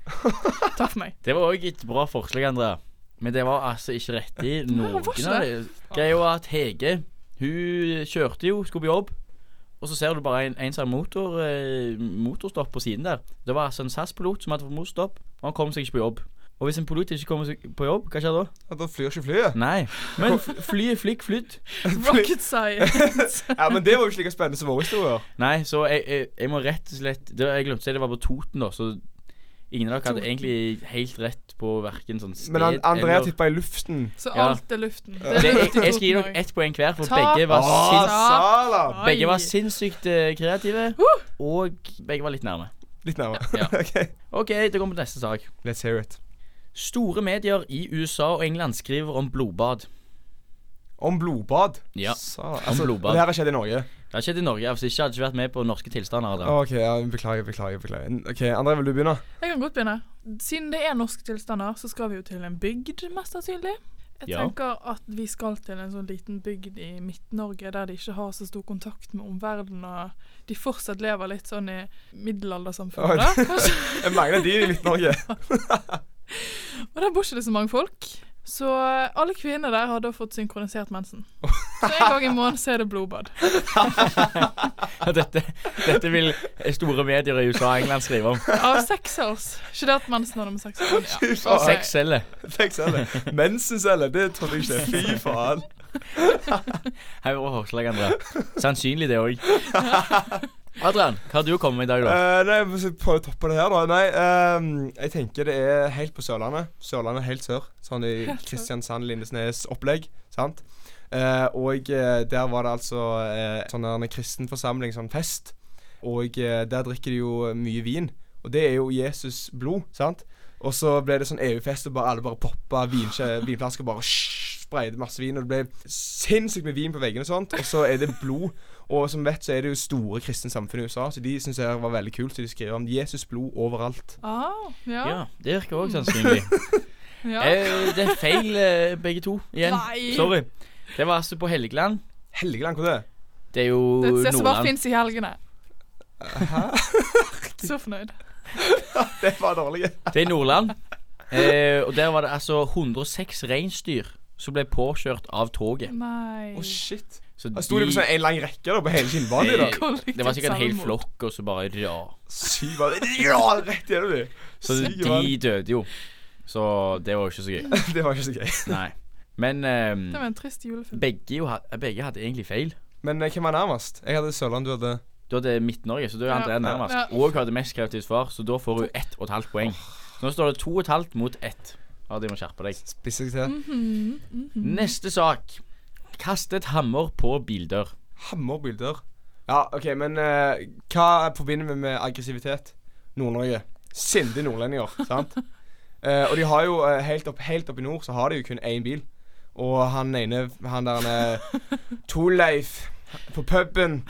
Speaker 2: Takk for meg.
Speaker 3: Det var òg et bra forslag, Andrea. Men det var altså ikke riktig.
Speaker 2: Nei,
Speaker 3: Noen
Speaker 2: det var ikke
Speaker 3: av det. Greia var at Hege Hun kjørte jo, skulle på jobb. Og så ser du bare en, en sånn motor, eh, motorstopp på siden der. Det var altså en SAS-pilot som hadde fått motorstopp, og han kom seg ikke på jobb. Og hvis en pilot ikke kommer seg på jobb, hva skjer da?
Speaker 4: Ja, da flyr ikke flyet.
Speaker 3: Nei. Men f- flyet flikk flytt.
Speaker 2: Rocket science.
Speaker 4: [laughs] Ja, Men det var jo ikke like spennende som våre historier.
Speaker 3: Nei, så jeg, jeg, jeg må rett og slett det, Jeg glemte å si det var på Toten, da, så ingen av dere hadde egentlig helt rett på verken sånn sted
Speaker 4: Men an Andrea
Speaker 3: eller-
Speaker 4: tippa i luften.
Speaker 2: Så
Speaker 3: Ja.
Speaker 2: alt er luften. Det [laughs] er
Speaker 3: Det, jeg,
Speaker 2: luft i
Speaker 3: jeg skal gi
Speaker 2: Toten
Speaker 3: dere
Speaker 2: også.
Speaker 3: ett poeng hver, for
Speaker 2: Takk.
Speaker 3: begge var
Speaker 4: Åh,
Speaker 3: sinnssykt
Speaker 4: Salam!
Speaker 2: Oi.
Speaker 3: Begge var sinnssykt eh, kreative, og begge var litt nærme.
Speaker 4: Litt nærmere.
Speaker 3: Ja.
Speaker 4: OK.
Speaker 3: [laughs] OK, det kommer på neste sak.
Speaker 4: Let's hear it.
Speaker 3: Store medier i USA og England skriver om blodbad.
Speaker 4: Om blodbad.
Speaker 3: Ja,
Speaker 4: Sa-
Speaker 3: om blodbad.
Speaker 4: Og det her har skjedd i Norge.
Speaker 3: Det har skjedd i Norge, altså, hvis ikke hadde jeg ikke vært med på norske tilstander. [laughs] Adrian.
Speaker 4: OK, ja, beklager, beklager. beklager Ok, André, vil du begynne?
Speaker 2: Jeg kan godt begynne. Siden det er norske tilstander, så skal vi jo til en bygd, mest sannsynlig. Jeg
Speaker 3: Ja.
Speaker 2: tenker at vi skal til en sånn liten bygd i Midt-Norge der de ikke har så stor kontakt med omverdenen, og de fortsatt lever litt sånn i middelaldersamfunnet. da, kanskje.
Speaker 4: Jeg mangler de i
Speaker 3: [laughs]
Speaker 4: Midt-Norge.
Speaker 2: Og der bor ikke det så mange folk. Så alle kvinner der har da fått synkronisert mensen. Så en gang i måneden så er det blodbad.
Speaker 3: Dette, dette vil eh, store medier i USA og England skrive om.
Speaker 2: Av sexcells. Ikke det at mensen har noe med sex å gjøre. men ja.
Speaker 4: faen.
Speaker 2: Ok.
Speaker 3: Seks celler.
Speaker 4: Tekstceller. Mensenceller, det trodde jeg ikke.
Speaker 3: [laughs]
Speaker 4: Fy faen.
Speaker 3: Her er vårt forslag, André. Sannsynlig det òg. Adrian, hva har du kommet med i dag, da?
Speaker 4: Eh, nei, Hvis jeg prøver å toppe det her, da. Nei, ehm, jeg tenker det er helt på Sørlandet. Sørlandet er helt sør. Sånn i
Speaker 2: Helt sør.
Speaker 4: Kristiansand, Lindesnes opplegg. Sant? Eh, og eh, der var det altså eh, sånn der en kristen forsamling, sånn fest. Og eh, der drikker de jo mye vin. Og det er jo Jesus blod, sant? Og så ble det sånn EU-fest, og bare, alle bare poppa vinkje- [laughs] vinflasker. Bare shh, spreide masse vin, og det ble sinnssykt med vin på veggene og sånt. Og så er det blod. Og som vet, så er det jo store kristne samfunn i USA, så de syns det her var veldig kult. Så de skriver om Jesus blod overalt.
Speaker 2: Ah, ja.
Speaker 3: Ja, det virker òg sannsynlig.
Speaker 2: ja.
Speaker 3: Eh, det er feil, eh, begge to. Igjen.
Speaker 2: Nei.
Speaker 3: Sorry. Det var altså på Helgeland.
Speaker 4: Helgeland, hvor det er?
Speaker 3: Det er jo
Speaker 2: Det er et sted som bare
Speaker 3: Nordland.
Speaker 2: fins i helgene. Så fornøyd.
Speaker 4: Det var dårlig.
Speaker 3: Det er Nordland. Eh, og der var det altså 106 reinsdyr som ble påkjørt av toget.
Speaker 2: Nei.
Speaker 4: Å, shit.
Speaker 3: Så
Speaker 4: Da sto de på sånn en lang rekke da, på hele Kinnbanen i dag.
Speaker 3: Eh, det var sikkert en hel flokk, og så bare ja.
Speaker 4: Syv av Ja, rett gjennom de.
Speaker 3: Så
Speaker 4: Syv av
Speaker 3: de døde jo. Så det var jo ikke så gøy.
Speaker 4: Det var ikke så gøy.
Speaker 3: Nei. Men ehm,
Speaker 2: Det var en trist julefilm.
Speaker 3: begge, jo, ha- begge hadde egentlig feil.
Speaker 4: Men eh, hvem var nærmest? Jeg hadde Sørland, du hadde
Speaker 3: Du hadde Midt-Norge, så du er
Speaker 2: Ja.
Speaker 3: André nærmest.
Speaker 2: Ja.
Speaker 3: Og hadde mest kreativt svar, så da får hun ett og et halvt poeng. Så nå står det to og et halvt mot ett. Ja, de må skjerpe deg.
Speaker 4: Spisser jeg til.
Speaker 3: Neste sak. Kastet hammer på bildør.
Speaker 4: Hammerbilder. Ja, OK, men eh, hva forbinder vi med aggressivitet? Nord-Norge. Sindige nordlendinger, sant? Eh, og de har jo eh, helt, opp, helt opp i nord så har de jo kun én bil. Og han ene, han der uh, Torleif på puben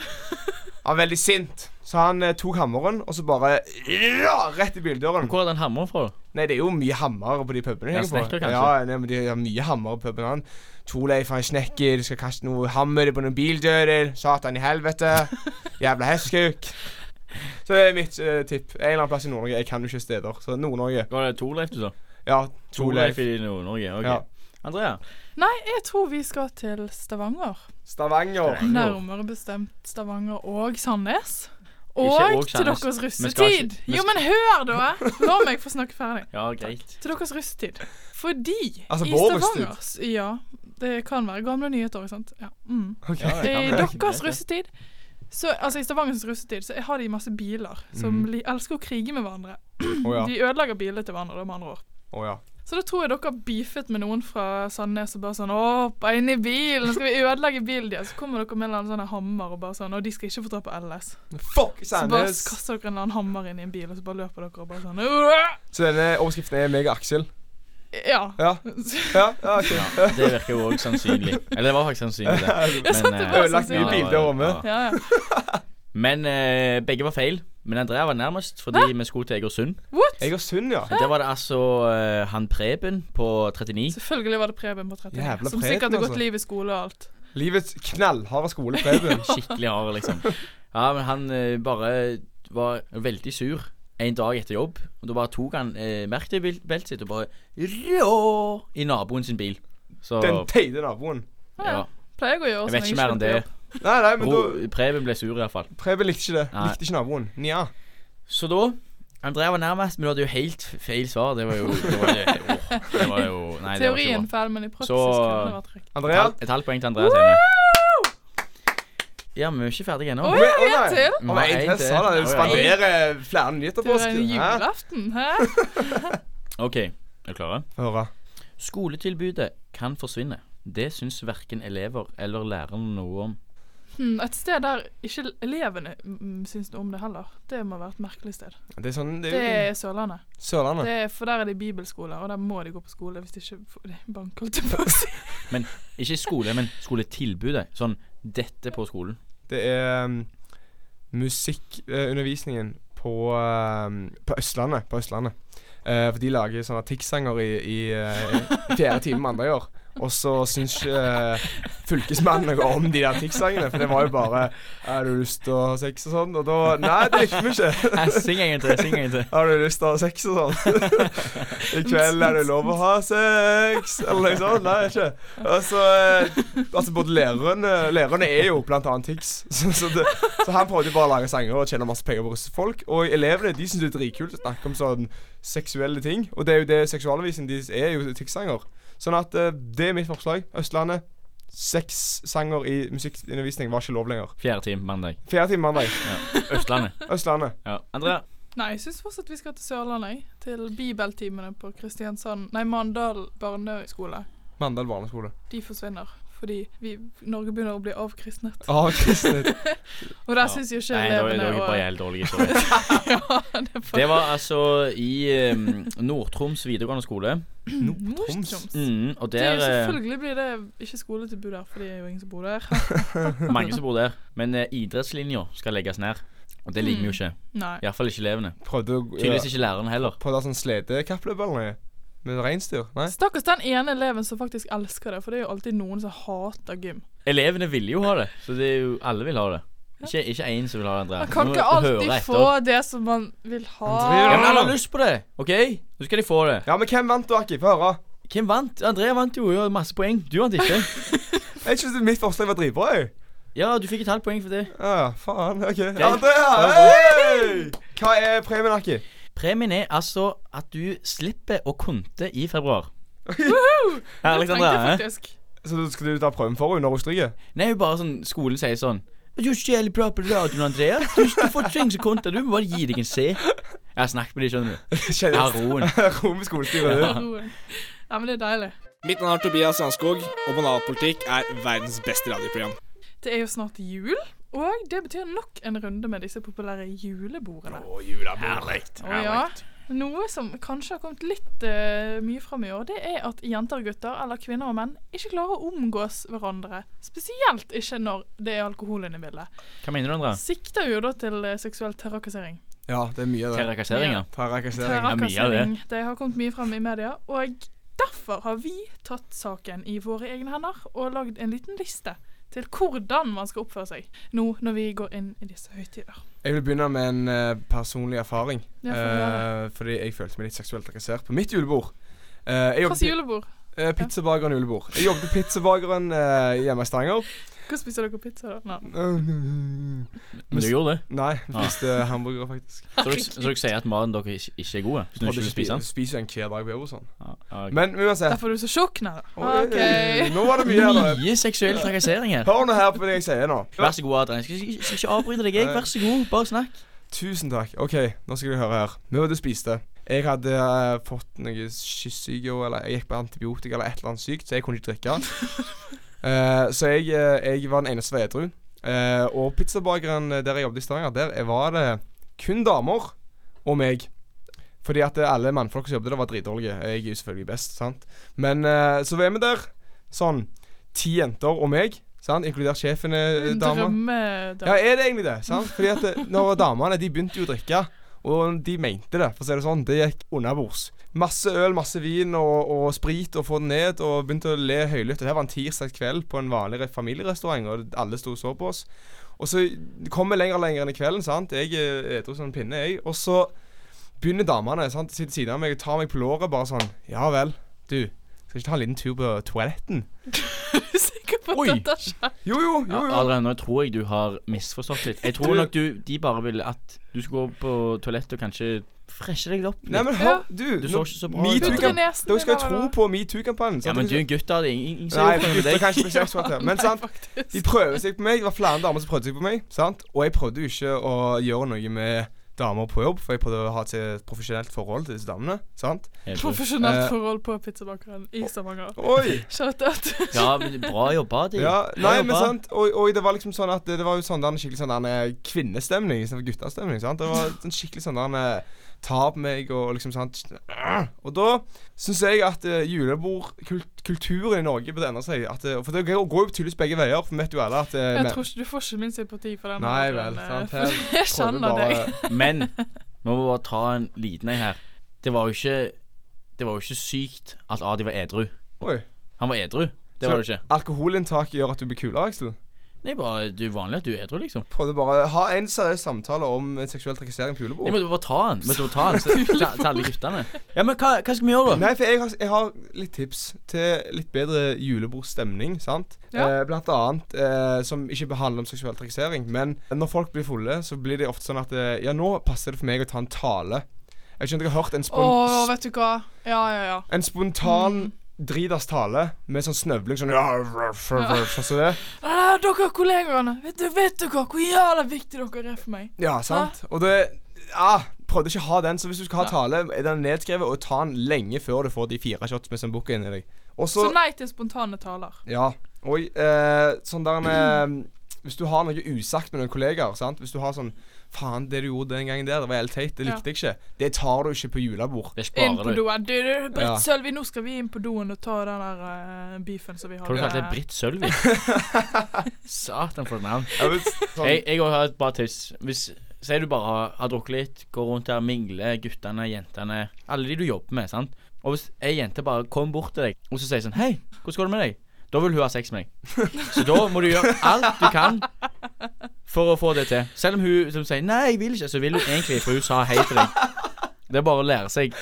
Speaker 4: Han er veldig sint, så han eh, tok hammeren og så bare ja, rett i bildøren.
Speaker 3: Hvor er den hammeren fra?
Speaker 4: Nei, det er jo mye hammer på de pubene.
Speaker 3: Ja,
Speaker 4: jeg tenker på.
Speaker 3: snekker, kanskje.
Speaker 4: Ja, nei, men de har mye hammer på puben. Han Torleif han er snekker, skal kaste noe hammer på noen bildører. Satan i
Speaker 3: [laughs]
Speaker 4: helvete. Jævla hestkuk. Så det er mitt eh, tipp. En eller annen plass i Nord-Norge. Jeg kan jo ikke steder. Så Nord-Norge.
Speaker 3: Var det Torleif du sa?
Speaker 4: Ja,
Speaker 3: Torleif
Speaker 4: Torleif.
Speaker 3: i Nord-Norge. ok.
Speaker 4: Ja.
Speaker 3: Andrea,
Speaker 2: Nei, jeg tror vi skal til Stavanger.
Speaker 4: Stavanger.
Speaker 3: Stavanger.
Speaker 2: Nærmere bestemt Stavanger og Sandnes.
Speaker 3: Ikke
Speaker 2: Og
Speaker 3: og
Speaker 2: til
Speaker 3: Sandnes.
Speaker 2: deres
Speaker 3: Vi skal
Speaker 2: russetid.
Speaker 3: ikke- vi
Speaker 2: Jo, men hør, da! La meg få snakke ferdig.
Speaker 3: ja, greit.
Speaker 2: Til deres russetid. Fordi
Speaker 4: Altså,
Speaker 2: i
Speaker 4: vår
Speaker 2: Stavanger Ja, det kan være gamle nyheter, ikke sant. Ja. Mm.
Speaker 3: Ja, jeg
Speaker 2: I
Speaker 3: kan-
Speaker 2: deres russetid så, Altså i Stavangers russetid Så har de masse biler Som
Speaker 3: Mm.
Speaker 2: li, elsker å krige med hverandre
Speaker 4: Å ja.
Speaker 2: De ødelegger biler til hverandre da, med andre ord
Speaker 4: Å ja.
Speaker 2: Så da tror jeg dere har beefet med noen fra Sandnes Og bare sånn, åh, bare inn i bilen Skal vi ødelegge bilen deres Så kommer dere med en eller annen sånn her hammer Og bare sånn, og de skal ikke få ta på LS
Speaker 4: Fuck
Speaker 2: Så bare
Speaker 4: Sandnes.
Speaker 2: kaster dere en eller annen hammer inn i en bil Og så bare løper dere og bare sånn «Uah!»
Speaker 4: Så denne overskriften er meg og Aksel.
Speaker 2: Ja [laughs]
Speaker 4: Ja. Ja, ja ok.
Speaker 3: Ja, det virker jo òg sannsynlig. Eller det var faktisk sannsynlig, det.
Speaker 2: Ja, sant, det
Speaker 3: eh,
Speaker 2: var
Speaker 4: Ødelagt mye
Speaker 2: sannsynlig.
Speaker 4: bilder om det.
Speaker 2: Ja, ja
Speaker 3: Men eh, begge var feil. Men Andrea var nærmest fordi vi skulle til Egersund.
Speaker 2: What?
Speaker 4: Egersund, ja.
Speaker 3: Der var det altså eh, han Preben på 39.
Speaker 2: Selvfølgelig var det Preben på 39
Speaker 4: Jævla
Speaker 2: Som
Speaker 4: Preben,
Speaker 2: sikkert har
Speaker 4: altså.
Speaker 2: gått liv i skole og alt
Speaker 4: Livets knallharde skole,
Speaker 3: [laughs]
Speaker 4: Preben.
Speaker 3: Skikkelig hard, liksom. Ja, men han eh, bare var veldig sur en dag etter jobb. Og da bare tok han uh, verktøybeltet sitt og bare rå i naboen sin bil. Så
Speaker 4: Den teite naboen.
Speaker 3: ja.
Speaker 2: Pleier jeg å gjøre
Speaker 3: Jeg
Speaker 2: sånn
Speaker 3: vet ikke mer enn det.
Speaker 2: slutter jobb.
Speaker 4: Nei, nei, men da
Speaker 3: Bro, Preben ble sur, iallfall.
Speaker 4: Preben likte ikke det.
Speaker 3: Nei.
Speaker 4: Likte ikke naboen. Nja.
Speaker 3: Så da Andrea var nærmest, men du hadde jo helt feil svar. Det var jo Det var, jo- åh, det var jo Nei, det var ikke
Speaker 2: Teorien
Speaker 3: bra.
Speaker 2: feil, men i praksis
Speaker 3: Så-
Speaker 2: kunne det vært riktig.
Speaker 3: Et
Speaker 4: Andrea?
Speaker 3: halvt- Et halvt poeng til Andrea senere. Ja, men vi er ikke ferdige ennå.
Speaker 2: Å
Speaker 4: Oi,
Speaker 2: ja,
Speaker 4: å
Speaker 2: vi er
Speaker 4: nei.
Speaker 2: til!
Speaker 3: Vi
Speaker 4: Om
Speaker 3: har
Speaker 4: en
Speaker 3: en
Speaker 4: test
Speaker 3: til.
Speaker 4: sa
Speaker 3: Ja,
Speaker 4: det,
Speaker 3: ja,
Speaker 4: du
Speaker 3: ja.
Speaker 4: spanderer flere nyheter på
Speaker 2: Til
Speaker 4: oss.
Speaker 2: en
Speaker 4: du. Hæ?
Speaker 2: julaften, hæ?
Speaker 3: OK, er du klare?
Speaker 4: Høre.
Speaker 3: Skoletilbudet kan forsvinne. Det syns verken elever eller lærerne noe om.
Speaker 2: Hmm, et sted der ikke elevene mm, syns noe om det heller. Det må være et merkelig sted.
Speaker 4: Det er sånn Det
Speaker 2: Det
Speaker 4: er jo
Speaker 2: er Sørlandet.
Speaker 4: Sørlandet.
Speaker 2: Det er, for der er det bibelskoler, og der må de gå på skole hvis de ikke får de bank, holdt jeg på å
Speaker 3: [laughs]
Speaker 2: si.
Speaker 3: Ikke skole, men skoletilbudet. Sånn dette på skolen.
Speaker 4: Det er um, musikkundervisningen på, um, på Østlandet. På Østlandet. Eh, for de lager sånne TIX-sanger i, i, eh, i fjerde time mandag i år. Og så syns ikke eh, fylkesmannen noe om de der TIX-sangene, for det var jo bare Har du lyst til å ha sex og sånn? Og da Nei, det likte vi ikke.
Speaker 3: [laughs] Jeg syng en gang til. Syng en gang til.
Speaker 4: Har du lyst til å ha sex og sånn? I kveld er det lov å ha sex, eller noe sånt. Nei, ikke. Altså, altså både læreren eh, Læreren er jo blant annet TIX, [laughs] så, så, det, så han prøvde bare å lage sanger og tjene masse penger på å russe folk. Og elevene de syns det er dritkult å snakke om sånn seksuelle ting, og det er jo det seksualundervisningen deres er, jo TIX-sanger. Sånn at eh, det er mitt forslag. Østlandet. Seks sanger i musikkundervisning var ikke lov lenger.
Speaker 3: Fjerde time på mandag.
Speaker 4: Fjerde time mandag.
Speaker 3: Østlandet.
Speaker 4: Østlandet.
Speaker 3: Ja. Andrea.
Speaker 2: Nei, jeg syns fortsatt vi skal til Sørlandet. jeg. Til bibeltimene på Kristiansand Nei, Mandal barneskole.
Speaker 4: Mandal barneskole.
Speaker 2: De forsvinner. Fordi vi, Norge begynner å bli avkristnet.
Speaker 4: Ah, Kristin.
Speaker 2: Og der syns jo ikke
Speaker 3: Nei, da er
Speaker 2: elevene
Speaker 3: dere
Speaker 2: å-
Speaker 3: bare helt dårlige. Sorry.
Speaker 2: [laughs] ja, det er bare-
Speaker 3: Det var altså i um, Nord-Troms videregående skole.
Speaker 4: Troms.
Speaker 2: Troms.
Speaker 3: Mm, og
Speaker 2: Det er jo
Speaker 3: der eh,
Speaker 2: selvfølgelig blir det ikke skoletilbud der, for det er jo ingen som bor
Speaker 3: [laughs]
Speaker 2: der.
Speaker 3: Mange som bor der. Men eh, idrettslinja skal legges ned. Og det liker vi jo ikke.
Speaker 2: Nei.
Speaker 3: Iallfall ikke elevene.
Speaker 4: Prøvde å
Speaker 3: Tydeligvis ikke lærerne heller.
Speaker 4: På det sånn sledekappløp eller noe? Med reinsdyr? Nei?
Speaker 2: Stakkars den ene eleven som faktisk elsker det, for det er jo alltid noen som hater gym.
Speaker 3: Elevene ville jo ha det, så det er jo alle vil ha det. Ikke, ikke én som vil ha det, Andrea.
Speaker 2: Man kan
Speaker 3: Nå
Speaker 2: ikke
Speaker 3: må du
Speaker 2: alltid
Speaker 3: høre etter.
Speaker 2: få det som man vil ha.
Speaker 4: Andrea!
Speaker 3: Ja, men alle har lyst på det, OK? Nå skal de få det.
Speaker 4: Ja, men hvem vant, da, Aki? Få høre.
Speaker 3: Hvem vant? Andrea vant jo, hun hadde masse poeng. Du
Speaker 2: [laughs]
Speaker 3: vant ikke.
Speaker 4: Jeg synes mitt forslag var dritbra, jeg.
Speaker 3: Ja, du fikk et halvt poeng for det.
Speaker 4: Ja, ja, faen. OK. Andrea! Hei! Hva er premien, Aki?
Speaker 3: Premien er altså at du slipper å konte i februar.
Speaker 2: Det
Speaker 3: Herlig,
Speaker 2: trengte
Speaker 3: Andrea.
Speaker 2: jeg
Speaker 3: hæ?
Speaker 2: faktisk.
Speaker 4: Så du- skal du ta prøven for henne når hun stryker? [laughs]
Speaker 3: Nei, jo bare sånn Skolen sier sånn Du er ikke jævlig bra på radioen, Andrea. Du, du får ikke engang konta. Du må bare gi deg en C. Jeg har snakket med dem, skjønner du. Jeg har
Speaker 4: Kjenner
Speaker 2: [laughs]
Speaker 3: roen.
Speaker 4: Rom i skolestyret. du.
Speaker 2: Roen. Ja, men det er deilig.
Speaker 5: Mitt navn er Tobias Strandskog, og Banalpolitikk er verdens beste radioprogram.
Speaker 2: Det er jo snart jul, og det betyr nok en runde med disse populære julebordene.
Speaker 3: Herlig.
Speaker 2: Og ja, noe som kanskje har kommet litt eh, mye fram i år, det er at jenter og gutter, eller kvinner og menn, ikke klarer å omgås hverandre. Spesielt ikke når det er alkohol inne i bildet.
Speaker 3: Hva mener du, Andrea?
Speaker 2: Sikter jo da til eh, seksuell terrakassering.
Speaker 4: Ja, det er mye av det.
Speaker 3: Terrakasseringer?
Speaker 4: Terrakassering.
Speaker 3: mye av det.
Speaker 2: Terrakassering. Det har kommet mye fram i media. og Derfor har vi tatt saken i våre egne hender og lagd en liten liste til hvordan man skal oppføre seg nå når vi går inn i disse høytider.
Speaker 4: Jeg vil begynne med en eh, personlig erfaring.
Speaker 2: Ja, få høre.
Speaker 4: Eh, fordi jeg følte meg litt seksuelt trakassert på mitt julebord. Uh, jeg
Speaker 2: Hva
Speaker 4: jobbet
Speaker 2: sier julebord?
Speaker 4: eh, pizzabakeren julebord. Jeg jobbet i pizzabakeren eh, hjemme
Speaker 2: [laughs]
Speaker 4: i Stavanger.
Speaker 2: Hva spiser dere pizza da? Nei.
Speaker 3: Men du gjorde det?
Speaker 4: Nei, vi
Speaker 3: Ah.
Speaker 4: spiste hamburgere, faktisk.
Speaker 3: Så dere, så dere sier at maten deres ikke- ikke er god? Så dere ikke vil spise
Speaker 4: spiser
Speaker 3: den?
Speaker 4: spiser jo en hver dag på jobb og sånn.
Speaker 3: Ja, ja, ok.
Speaker 4: Men uansett
Speaker 2: Derfor er du så tjukk, nei.
Speaker 4: Oi,
Speaker 2: OK.
Speaker 4: Nå var det
Speaker 3: [laughs]
Speaker 4: mye her. da.
Speaker 3: Mye seksuell trakassering her.
Speaker 4: Hør nå her på det jeg sier nå.
Speaker 3: Vær så god, Adrian. Jeg skal ikke, skal ikke avbryte deg, jeg. Vær så god, bare snakk.
Speaker 4: Tusen takk. OK, nå skal vi høre her. Vi var ute og spiste. Jeg hadde eh, fått noe kyssyke, og- eller jeg gikk på antibiotika eller et eller annet sykt, så jeg kunne ikke drikke. Eh, så jeg, eh, jeg var den eneste som var edru. Eh, og pizzabakeren eh, der jeg jobbet i Stavanger, der eh, var det kun damer og meg. Fordi at eh, alle mannfolk som jobbet der, var dritdårlige. Jeg er jo selvfølgelig best, sant. Men eh, så var vi der, sånn ti jenter og meg, sant, inkludert sjefene, eh, damer.
Speaker 2: Drømmedag.
Speaker 4: Ja, er det egentlig det? sant? Fordi at eh, når damene de begynte jo å drikke, og de mente det, for å si det sånn, det gikk underbords. Masse øl, masse vin og, og sprit og få det ned, og begynte å le høylytt. Det her var en tirsdag kveld på en vanlig re- familierestaurant, og alle sto og så på oss. Og så kom vi lenger og lenger inn i kvelden, sant. Jeg eh, edru som en pinne, jeg. Og så begynner damene sant, sitter siden av meg og tar meg på låret, bare sånn Ja vel, du. Skal ikke ta en liten tur på toaletten?
Speaker 2: Er [laughs] du sikker på
Speaker 3: Oi.
Speaker 2: at dette skjer?
Speaker 4: Jo, jo, jo, jo.
Speaker 3: Adrian, nå tror jeg du har misforstått litt. Jeg tror nok du, de bare ville at du skulle gå på toalettet og kanskje freshe deg opp.
Speaker 4: Nei,
Speaker 3: litt.
Speaker 4: men
Speaker 2: Ja.
Speaker 4: hør, du.
Speaker 3: Du så
Speaker 4: nå-
Speaker 3: ikke så bra ut.
Speaker 4: metoo
Speaker 3: Du
Speaker 4: kan-
Speaker 2: drenerte
Speaker 4: Dere skal jo
Speaker 2: meg,
Speaker 4: tro
Speaker 2: da.
Speaker 4: på metoo-kampanjen.
Speaker 3: Ja,
Speaker 4: sant?
Speaker 3: men du er en gutt, da. Det er ingen ingen som
Speaker 4: Nei,
Speaker 3: gjør det med
Speaker 4: gutter
Speaker 3: deg.
Speaker 4: kan ikke bli seksuelt
Speaker 2: [laughs]
Speaker 4: her. Men sant,
Speaker 2: Faktisk.
Speaker 4: de prøver seg på meg. Det var flere damer som prøvde seg på meg. sant? Og jeg prøvde jo ikke å gjøre noe med damer på jobb, for jeg prøvde å ha til et profesjonelt forhold til disse damene. sant?
Speaker 3: Helt riktig.
Speaker 2: Profesjonelt
Speaker 4: Eh.
Speaker 2: forhold på pizzabakeren i Stavanger.
Speaker 4: Oi!
Speaker 2: Shout out.
Speaker 3: Ja, men bra jobba, de.
Speaker 4: Ja, nei,
Speaker 3: Bra
Speaker 4: men
Speaker 3: jobba.
Speaker 4: sant, og, og det var liksom sånn at det, det var jo sånn der, en skikkelig sånn der en kvinnestemning istedenfor guttestemning. sant? Det var en skikkelig sånn der en, ta på meg og liksom sånn [sniffs] Og da syns jeg at eh, julebordkulturen i Norge burde endre seg. At, eh, for det går går jo tydeligvis begge veier, for vi vet jo alle at eh, men-
Speaker 2: Jeg tror ikke, Du får ikke min sympati for den.
Speaker 4: Nei vel,
Speaker 2: Adrian,
Speaker 4: sant.
Speaker 2: eh,
Speaker 4: Her
Speaker 2: for [laughs] Jeg
Speaker 4: prøver
Speaker 2: kjenner
Speaker 4: bare-
Speaker 2: deg.
Speaker 3: Men vi må bare ta en liten en her. Det var jo ikke Det var jo ikke sykt at Adi var edru.
Speaker 4: [laughs] Oi.
Speaker 3: Han var edru. Det var det ikke.
Speaker 4: Alkoholinntak gjør at du blir kulere, Aksel.
Speaker 3: Nei, bare du er vanlig at du er edru, liksom.
Speaker 4: Prøvde bare å ha en seriøs samtale om eh, seksuell trakassering på
Speaker 3: Jeg
Speaker 4: julebord.
Speaker 3: måtte bare ta han. Måtte bare ta han [laughs] så- ta- Til alle guttene. Ja, men hva, hva skal vi gjøre, da?
Speaker 4: Nei, for jeg har, jeg har litt tips til litt bedre julebordstemning, sant?
Speaker 2: Ja.
Speaker 4: Eh, blant annet eh, som ikke handler om seksuell trakassering. Men når folk blir fulle, så blir de ofte sånn at eh, Ja, nå passer det for meg å ta en tale. Jeg vet ikke om dere har hørt en,
Speaker 2: Å,
Speaker 4: spon
Speaker 2: vet du hva. Mm. Ja, ja, ja.
Speaker 4: en spontan Dridas tale med sånn snøvling sånn ja, rr, rr, rr, sånn som det.
Speaker 2: Ah, dere kollegaene, vet, du- vet dere hvor jævla viktig dere er for meg?
Speaker 4: Ja, sant? Og det Ja, prøvde ikke å ha den, så hvis du skal ha tale, er den nedskrevet, og ta den lenge før du får de fire shots med Sambuca inni deg. Og
Speaker 2: Så
Speaker 4: så
Speaker 2: nei til spontane taler.
Speaker 4: Ja. Oi. Eh, sånn der med Hvis du har noe usagt med noen kollegaer, sant? hvis du har sånn Faen, det du gjorde den gangen der, det var helt teit, det
Speaker 2: Ja.
Speaker 4: likte jeg ikke. Det tar du ikke på julebord.
Speaker 3: Det
Speaker 2: Inn
Speaker 3: sparer
Speaker 2: på
Speaker 3: du.
Speaker 2: doen. Du, du, Britt
Speaker 4: Ja.
Speaker 2: Sølvi, nå skal vi inn på doen og ta den der eh, beefen som vi har.
Speaker 3: Tror du kalte det
Speaker 2: med-
Speaker 3: Britt [laughs] Sølvi? Satan, for et navn.
Speaker 4: Ja, men sånn-
Speaker 3: Jeg, jeg også har et bra tips. Hvis Sier du bare har, har drukket litt, går rundt her, mingler, guttene, jentene Alle de du jobber med, sant. Og hvis ei jente bare kommer bort til deg og så sier sånn Hei, hvordan går det med deg? Da vil hun ha sex med deg. [laughs] Så da må du gjøre alt du kan for å få det til. Selv om hun som sier nei, jeg vil ikke, så vil hun egentlig, for hun sa hei til deg. Det er bare å lære seg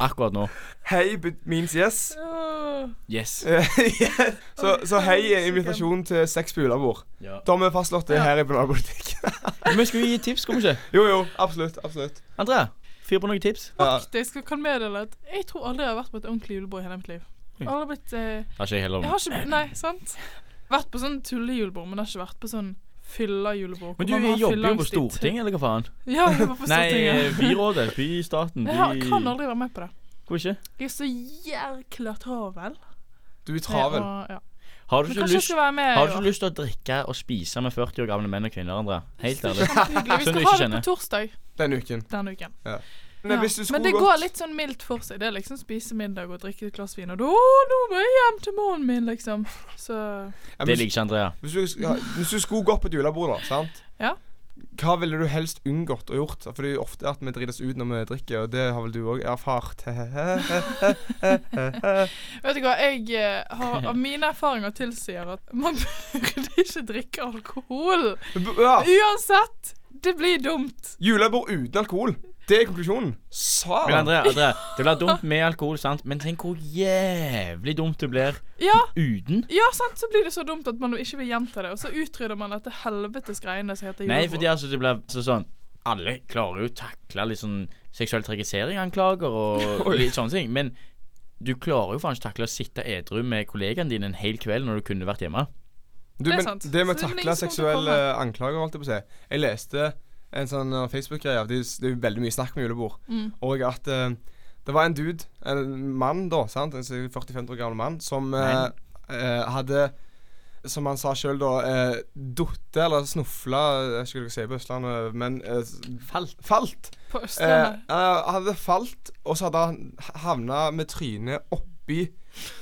Speaker 3: akkurat nå.
Speaker 4: Hei but means yes. [laughs]
Speaker 2: Åh.
Speaker 3: Yes.
Speaker 4: Yes. så, så hei er invitasjon til sex på julebord.
Speaker 3: Ja.
Speaker 4: Da har vi fastslått det her i Banalpolitikk.
Speaker 3: Men skal vi gi tips, skal vi ikke?
Speaker 4: jo, jo. Absolutt. Absolutt.
Speaker 3: Andrea, fyr på noen tips.
Speaker 4: Ja.
Speaker 2: Faktisk, jeg kan meddele at jeg tror aldri jeg har vært på et ordentlig julebord i hele mitt liv. Jeg har aldri blitt eh,
Speaker 3: Har ikke jeg heller.
Speaker 2: Jeg har ikke Nei, sant? Vært på sånn tullejulebord, men jeg har ikke vært på sånn fylla-julebord. hvor man
Speaker 3: Men du
Speaker 2: har
Speaker 3: jobber jo på
Speaker 2: fylleangst i-
Speaker 3: Stortinget, eller hva faen?
Speaker 2: Ja, jeg var på
Speaker 3: Nei, eh,
Speaker 2: Stortinget.
Speaker 3: byrådet. Bystaten.
Speaker 2: Jeg har, kan aldri være med på det.
Speaker 3: Hvorfor ikke?
Speaker 2: Jeg er så jækla travel.
Speaker 4: Du er travel.
Speaker 2: Og, ja.
Speaker 3: Har du
Speaker 2: Men
Speaker 3: ikke
Speaker 2: kanskje jeg
Speaker 3: lyst
Speaker 2: skal være med
Speaker 3: har
Speaker 2: i
Speaker 3: du
Speaker 2: år.
Speaker 3: ikke lyst til å drikke og spise med 40 år gamle menn og kvinner, Andrea? Helt
Speaker 2: Det er
Speaker 3: ærlig.
Speaker 2: [laughs] kjempehyggelig. Vi skal
Speaker 3: Som du ikke
Speaker 2: ha det
Speaker 3: kjenner.
Speaker 2: på torsdag
Speaker 4: Denne uken.
Speaker 2: denne uken.
Speaker 4: Men
Speaker 2: Ja.
Speaker 4: hvis du
Speaker 2: Men
Speaker 4: skulle
Speaker 2: det
Speaker 4: gått
Speaker 2: går litt sånn mildt for seg. Det er liksom spise middag og drikke et glass vin, og da «Å, nå må jeg hjem til mannen min, liksom. Så
Speaker 4: ja,
Speaker 3: Det
Speaker 4: hvis,
Speaker 3: liker ikke Andrea.
Speaker 4: hvis, du, ja, hvis du skulle gått på et julebord, da, sant?
Speaker 2: Ja.
Speaker 4: Hva ville du helst unngått å gjort? For det er jo ofte at vi drites ut når vi drikker, og det har vel du òg erfart.
Speaker 2: Vet du hva, jeg eh,
Speaker 3: [laughs]
Speaker 2: har av mine erfaringer tilsier at man [laughs] burde ikke drikke alkohol.
Speaker 4: ja.
Speaker 2: Uansett! Det blir dumt.
Speaker 4: Julebord uten alkohol. Det er konklusjonen. Sa
Speaker 3: Men Andrea, Andrea, det blir dumt med alkohol, sant? Men tenk hvor jævlig dumt det blir
Speaker 2: Ja,
Speaker 3: uten.
Speaker 2: ja, sant, så blir det så dumt at man ikke vil gjenta det. Og så utrydder man dette helvetes greiene som heter
Speaker 3: Nei,
Speaker 2: julebord.
Speaker 3: fordi altså det blir så sånn Alle klarer jo å takle litt sånn seksuell trakassering, anklager og litt sånne ting. Men du klarer jo faen ikke takle å sitte edru med kollegaene dine en hel kveld når du kunne vært hjemme.
Speaker 4: Du,
Speaker 2: Det er
Speaker 4: men
Speaker 2: sant.
Speaker 4: det
Speaker 2: Så det
Speaker 4: med å
Speaker 2: er ingen som kommer
Speaker 4: takle
Speaker 2: til å
Speaker 4: seksuelle anklager, holdt jeg på å si Jeg leste en sånn eh, Facebook-greie. av- Det, er jo s- det er jo veldig mye snakk om julebord.
Speaker 2: Mm,
Speaker 4: Og at eh, det var en dude, en mann da, sant? en 40-50 år gammel mann, som eh, eh, hadde som han sa sjøl, da eh, Datt eller snufla Jeg vet ikke hva dere sier på Østlandet, men eh, s-
Speaker 3: Falt.
Speaker 4: falt.
Speaker 2: På
Speaker 4: Eh,
Speaker 2: Østlandet.
Speaker 4: han hadde falt, og så hadde han havna med trynet oppi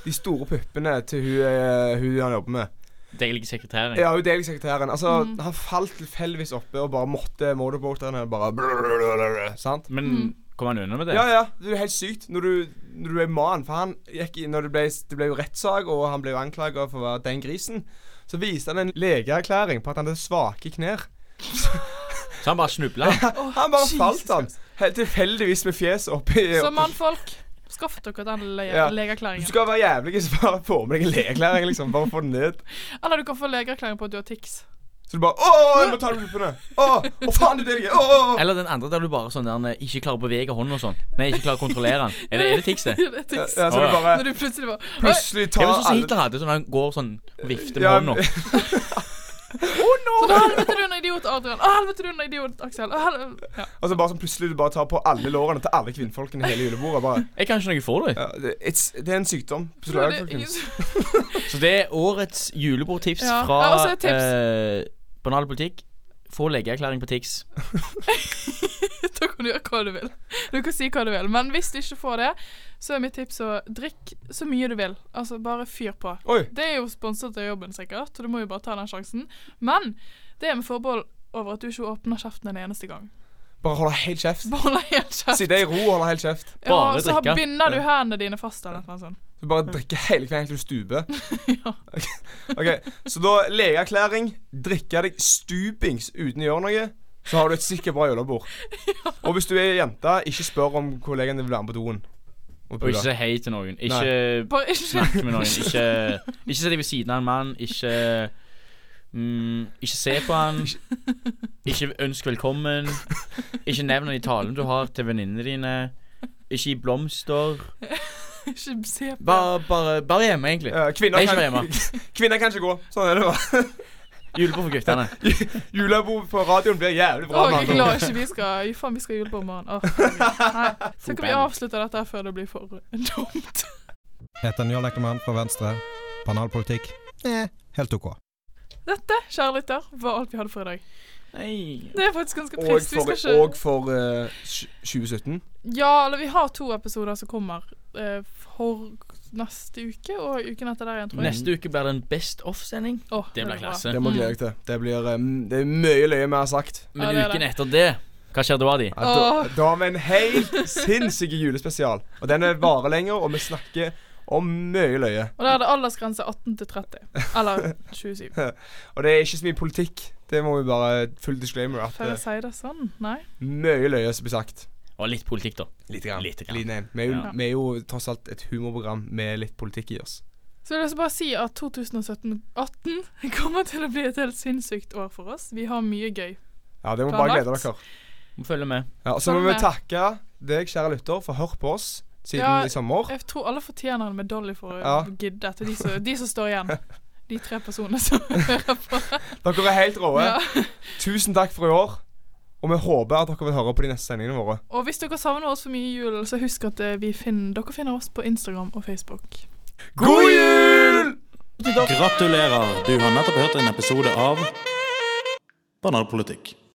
Speaker 4: de store puppene til hun, eh, hun han jobber med.
Speaker 3: Deilig sekretæring.
Speaker 4: Ja, hun delte sekretæren. Altså, han falt tilfeldigvis oppe og bare måtte motorboaterne bare blablabla, Sant?
Speaker 3: Men
Speaker 2: Mm.
Speaker 3: kom han unna med det?
Speaker 4: Ja, ja. Det er helt sykt når du, når du er mann. For han gikk inn når det ble, det ble jo rettssak, og han ble jo anklaga for å være den grisen. Så viste han en legeerklæring på at han hadde svake knær.
Speaker 3: Så han bare snubla?
Speaker 4: [laughs] Han bare falt, han. Helt tilfeldigvis med fjeset oppi
Speaker 2: Så mannfolk, skaff dere den le
Speaker 4: Ja. Du
Speaker 2: legeerklæringen.
Speaker 4: skal være jævlig så bare få med deg en legeerklæring, liksom. Bare få den ned.
Speaker 2: Eller du kan få legeerklæring på at du har tics.
Speaker 4: Så du bare Å, jeg må ta de puppene! Å, å, faen, det er det jeg er! Å, Å, å!
Speaker 3: Eller den andre der du bare sånn der han eh, ikke klarer å bevege hånden og sånn. Nei, ikke klarer å kontrollere den. Er det, er det tikset?
Speaker 4: [laughs]
Speaker 2: Ja, [laughs] det er tics.
Speaker 4: Ja, så du bare
Speaker 2: Når du plutselig bare Oi,
Speaker 4: plutselig
Speaker 3: Det
Speaker 4: tar
Speaker 3: var sånn som
Speaker 4: alle-
Speaker 3: Hitler hadde, sånn han går sånn og vifter med
Speaker 4: Ja,
Speaker 3: hånda.
Speaker 2: så da helvete du er en idiot, Adrian. Å, helvete du er en idiot, Aksel. Å, hel- ja.
Speaker 4: Og så bare sånn plutselig du bare tar på alle lårene til alle kvinnfolkene i hele julebordet. Bare,
Speaker 3: Jeg kan ikke noe for det.
Speaker 4: ja, det, it's, det er en sykdom.
Speaker 2: Nå er
Speaker 4: Beklager,
Speaker 2: det
Speaker 4: folkens.
Speaker 2: ingen-
Speaker 3: Så det er årets julebordtips
Speaker 2: Ja,
Speaker 3: fra
Speaker 2: ja, og så et tips.
Speaker 3: eh, Banal politikk. Få legeerklæring på Tix.
Speaker 2: [laughs] Da kan du gjøre hva du vil. Du kan si hva du vil. Men hvis du ikke får det, så er mitt tips å drikk så mye du vil. Altså, bare fyr på.
Speaker 4: Oi.
Speaker 2: Det er jo sponset av jobben, sikkert, så du
Speaker 3: [laughs]
Speaker 2: må jo bare ta den sjansen. Men det er med forbehold over at du ikke åpner kjeften en eneste gang.
Speaker 4: Bare holde helt kjeft.
Speaker 2: Bare holde helt kjeft.
Speaker 4: Sitte i ro og holde helt kjeft.
Speaker 2: Ja,
Speaker 3: bare
Speaker 2: og så har-
Speaker 3: drikke.
Speaker 2: binder du hendene dine fast eller noe sånt.
Speaker 4: Du bare drikke hele kvelden helt til du stuper.
Speaker 2: [laughs] Ja.
Speaker 4: Ok, Så da legeerklæring. Drikke deg stupings uten å gjøre noe. Så har du et sikkert bra julebord. Og hvis du er jente, ikke spør om kollegaen din vil være med på doen. Og
Speaker 3: Og ikke
Speaker 4: pule.
Speaker 3: si hei til noen. Ikke
Speaker 2: Bare ikke
Speaker 3: snakke med noen. Ikke, ikke sett deg ved siden av en mann. Ikke mm, Ikke se på han. Ikke ønsk velkommen. Ikke nevn han i talen du har til venninnene dine. Ikke gi blomster.
Speaker 2: [laughs] Ikke se på
Speaker 3: Bare, bare, bare hjemme, egentlig.
Speaker 4: Eh, kvinner,
Speaker 3: Jeg er ikke
Speaker 4: kan,
Speaker 3: hjemme.
Speaker 4: [laughs] kvinner kan ikke gå. Sånn er det bare.
Speaker 3: Julebord for guttene.
Speaker 4: Julebord på radioen blir jævlig
Speaker 2: Å,
Speaker 4: bra. med
Speaker 2: jeg er
Speaker 4: andre ord.
Speaker 2: glad ikke vi skal Jo, faen, vi skal ha julebord i morgen. Å, herregud. Nei. Så kan vi avslutte dette her før det blir for dumt. [laughs]
Speaker 9: Heter Njål Eckermann fra Venstre. Banalpolitikk? Eh, helt OK.
Speaker 2: Dette, kjære lytter, var alt vi hadde for i dag.
Speaker 3: Nei.
Speaker 2: Det er faktisk ganske
Speaker 4: Og
Speaker 2: trist. Vi
Speaker 4: for,
Speaker 2: skal ikke
Speaker 4: og for eh, tj- 2017.
Speaker 2: Ja, eller vi har to episoder som kommer eh, for neste uke og uken etter der igjen, tror jeg.
Speaker 3: Neste uke blir det en Best Off-sending.
Speaker 2: Åh,
Speaker 3: Det blir
Speaker 2: bra.
Speaker 3: klasse.
Speaker 4: Det må jeg glede deg til. Det blir eh, det er mye løye vi har sagt.
Speaker 2: Ja,
Speaker 3: Men
Speaker 2: det er
Speaker 3: uken
Speaker 2: det.
Speaker 3: etter det, hva skjer da, de?
Speaker 4: Ja, da,
Speaker 2: Åh.
Speaker 4: da har vi en helt sinnssyk julespesial. Og den er varer lenger, og vi snakker om mye løye.
Speaker 2: Og der er det aldersgrense 18 til 30. Eller 27.
Speaker 4: Og [laughs] det er ikke så mye politikk. Det må vi bare full disclaimer at
Speaker 2: Får
Speaker 4: det
Speaker 2: jeg si det sånn? Nei?
Speaker 4: er mye løye som blir sagt.
Speaker 3: Og litt politikk, da.
Speaker 4: Lite grann.
Speaker 3: Lite grann.
Speaker 4: Liten en. Vi, er jo,
Speaker 2: Ja.
Speaker 4: vi er jo tross alt et humorprogram med litt politikk i oss.
Speaker 2: Så vil jeg også bare si at 2017-18 kommer til å bli et helt sinnssykt år for oss. Vi har mye gøy.
Speaker 4: Ja, det må bare glede
Speaker 2: Planlagt.
Speaker 4: dere.
Speaker 3: Må følge med.
Speaker 4: Ja, og så
Speaker 2: Sånn
Speaker 4: må vi
Speaker 2: er det.
Speaker 4: takke deg, kjære lytter, for å høre på oss siden
Speaker 2: Ja.
Speaker 4: i sommer.
Speaker 2: Jeg tror alle fortjener en medalje for å
Speaker 4: Ja.
Speaker 2: gidde etter de som, de som står igjen.
Speaker 4: [laughs]
Speaker 2: De tre personene som [laughs] hører på.
Speaker 4: Dere er helt rå.
Speaker 2: Ja.
Speaker 4: Tusen takk for i år. Og vi håper at dere vil høre på de neste sendingene våre.
Speaker 2: Og hvis dere savner oss for mye i julen, så husk at eh, vi finner, dere finner oss på Instagram og Facebook.
Speaker 4: God jul!
Speaker 1: Gratulerer! Du har nettopp hørt en episode av Banalpolitikk.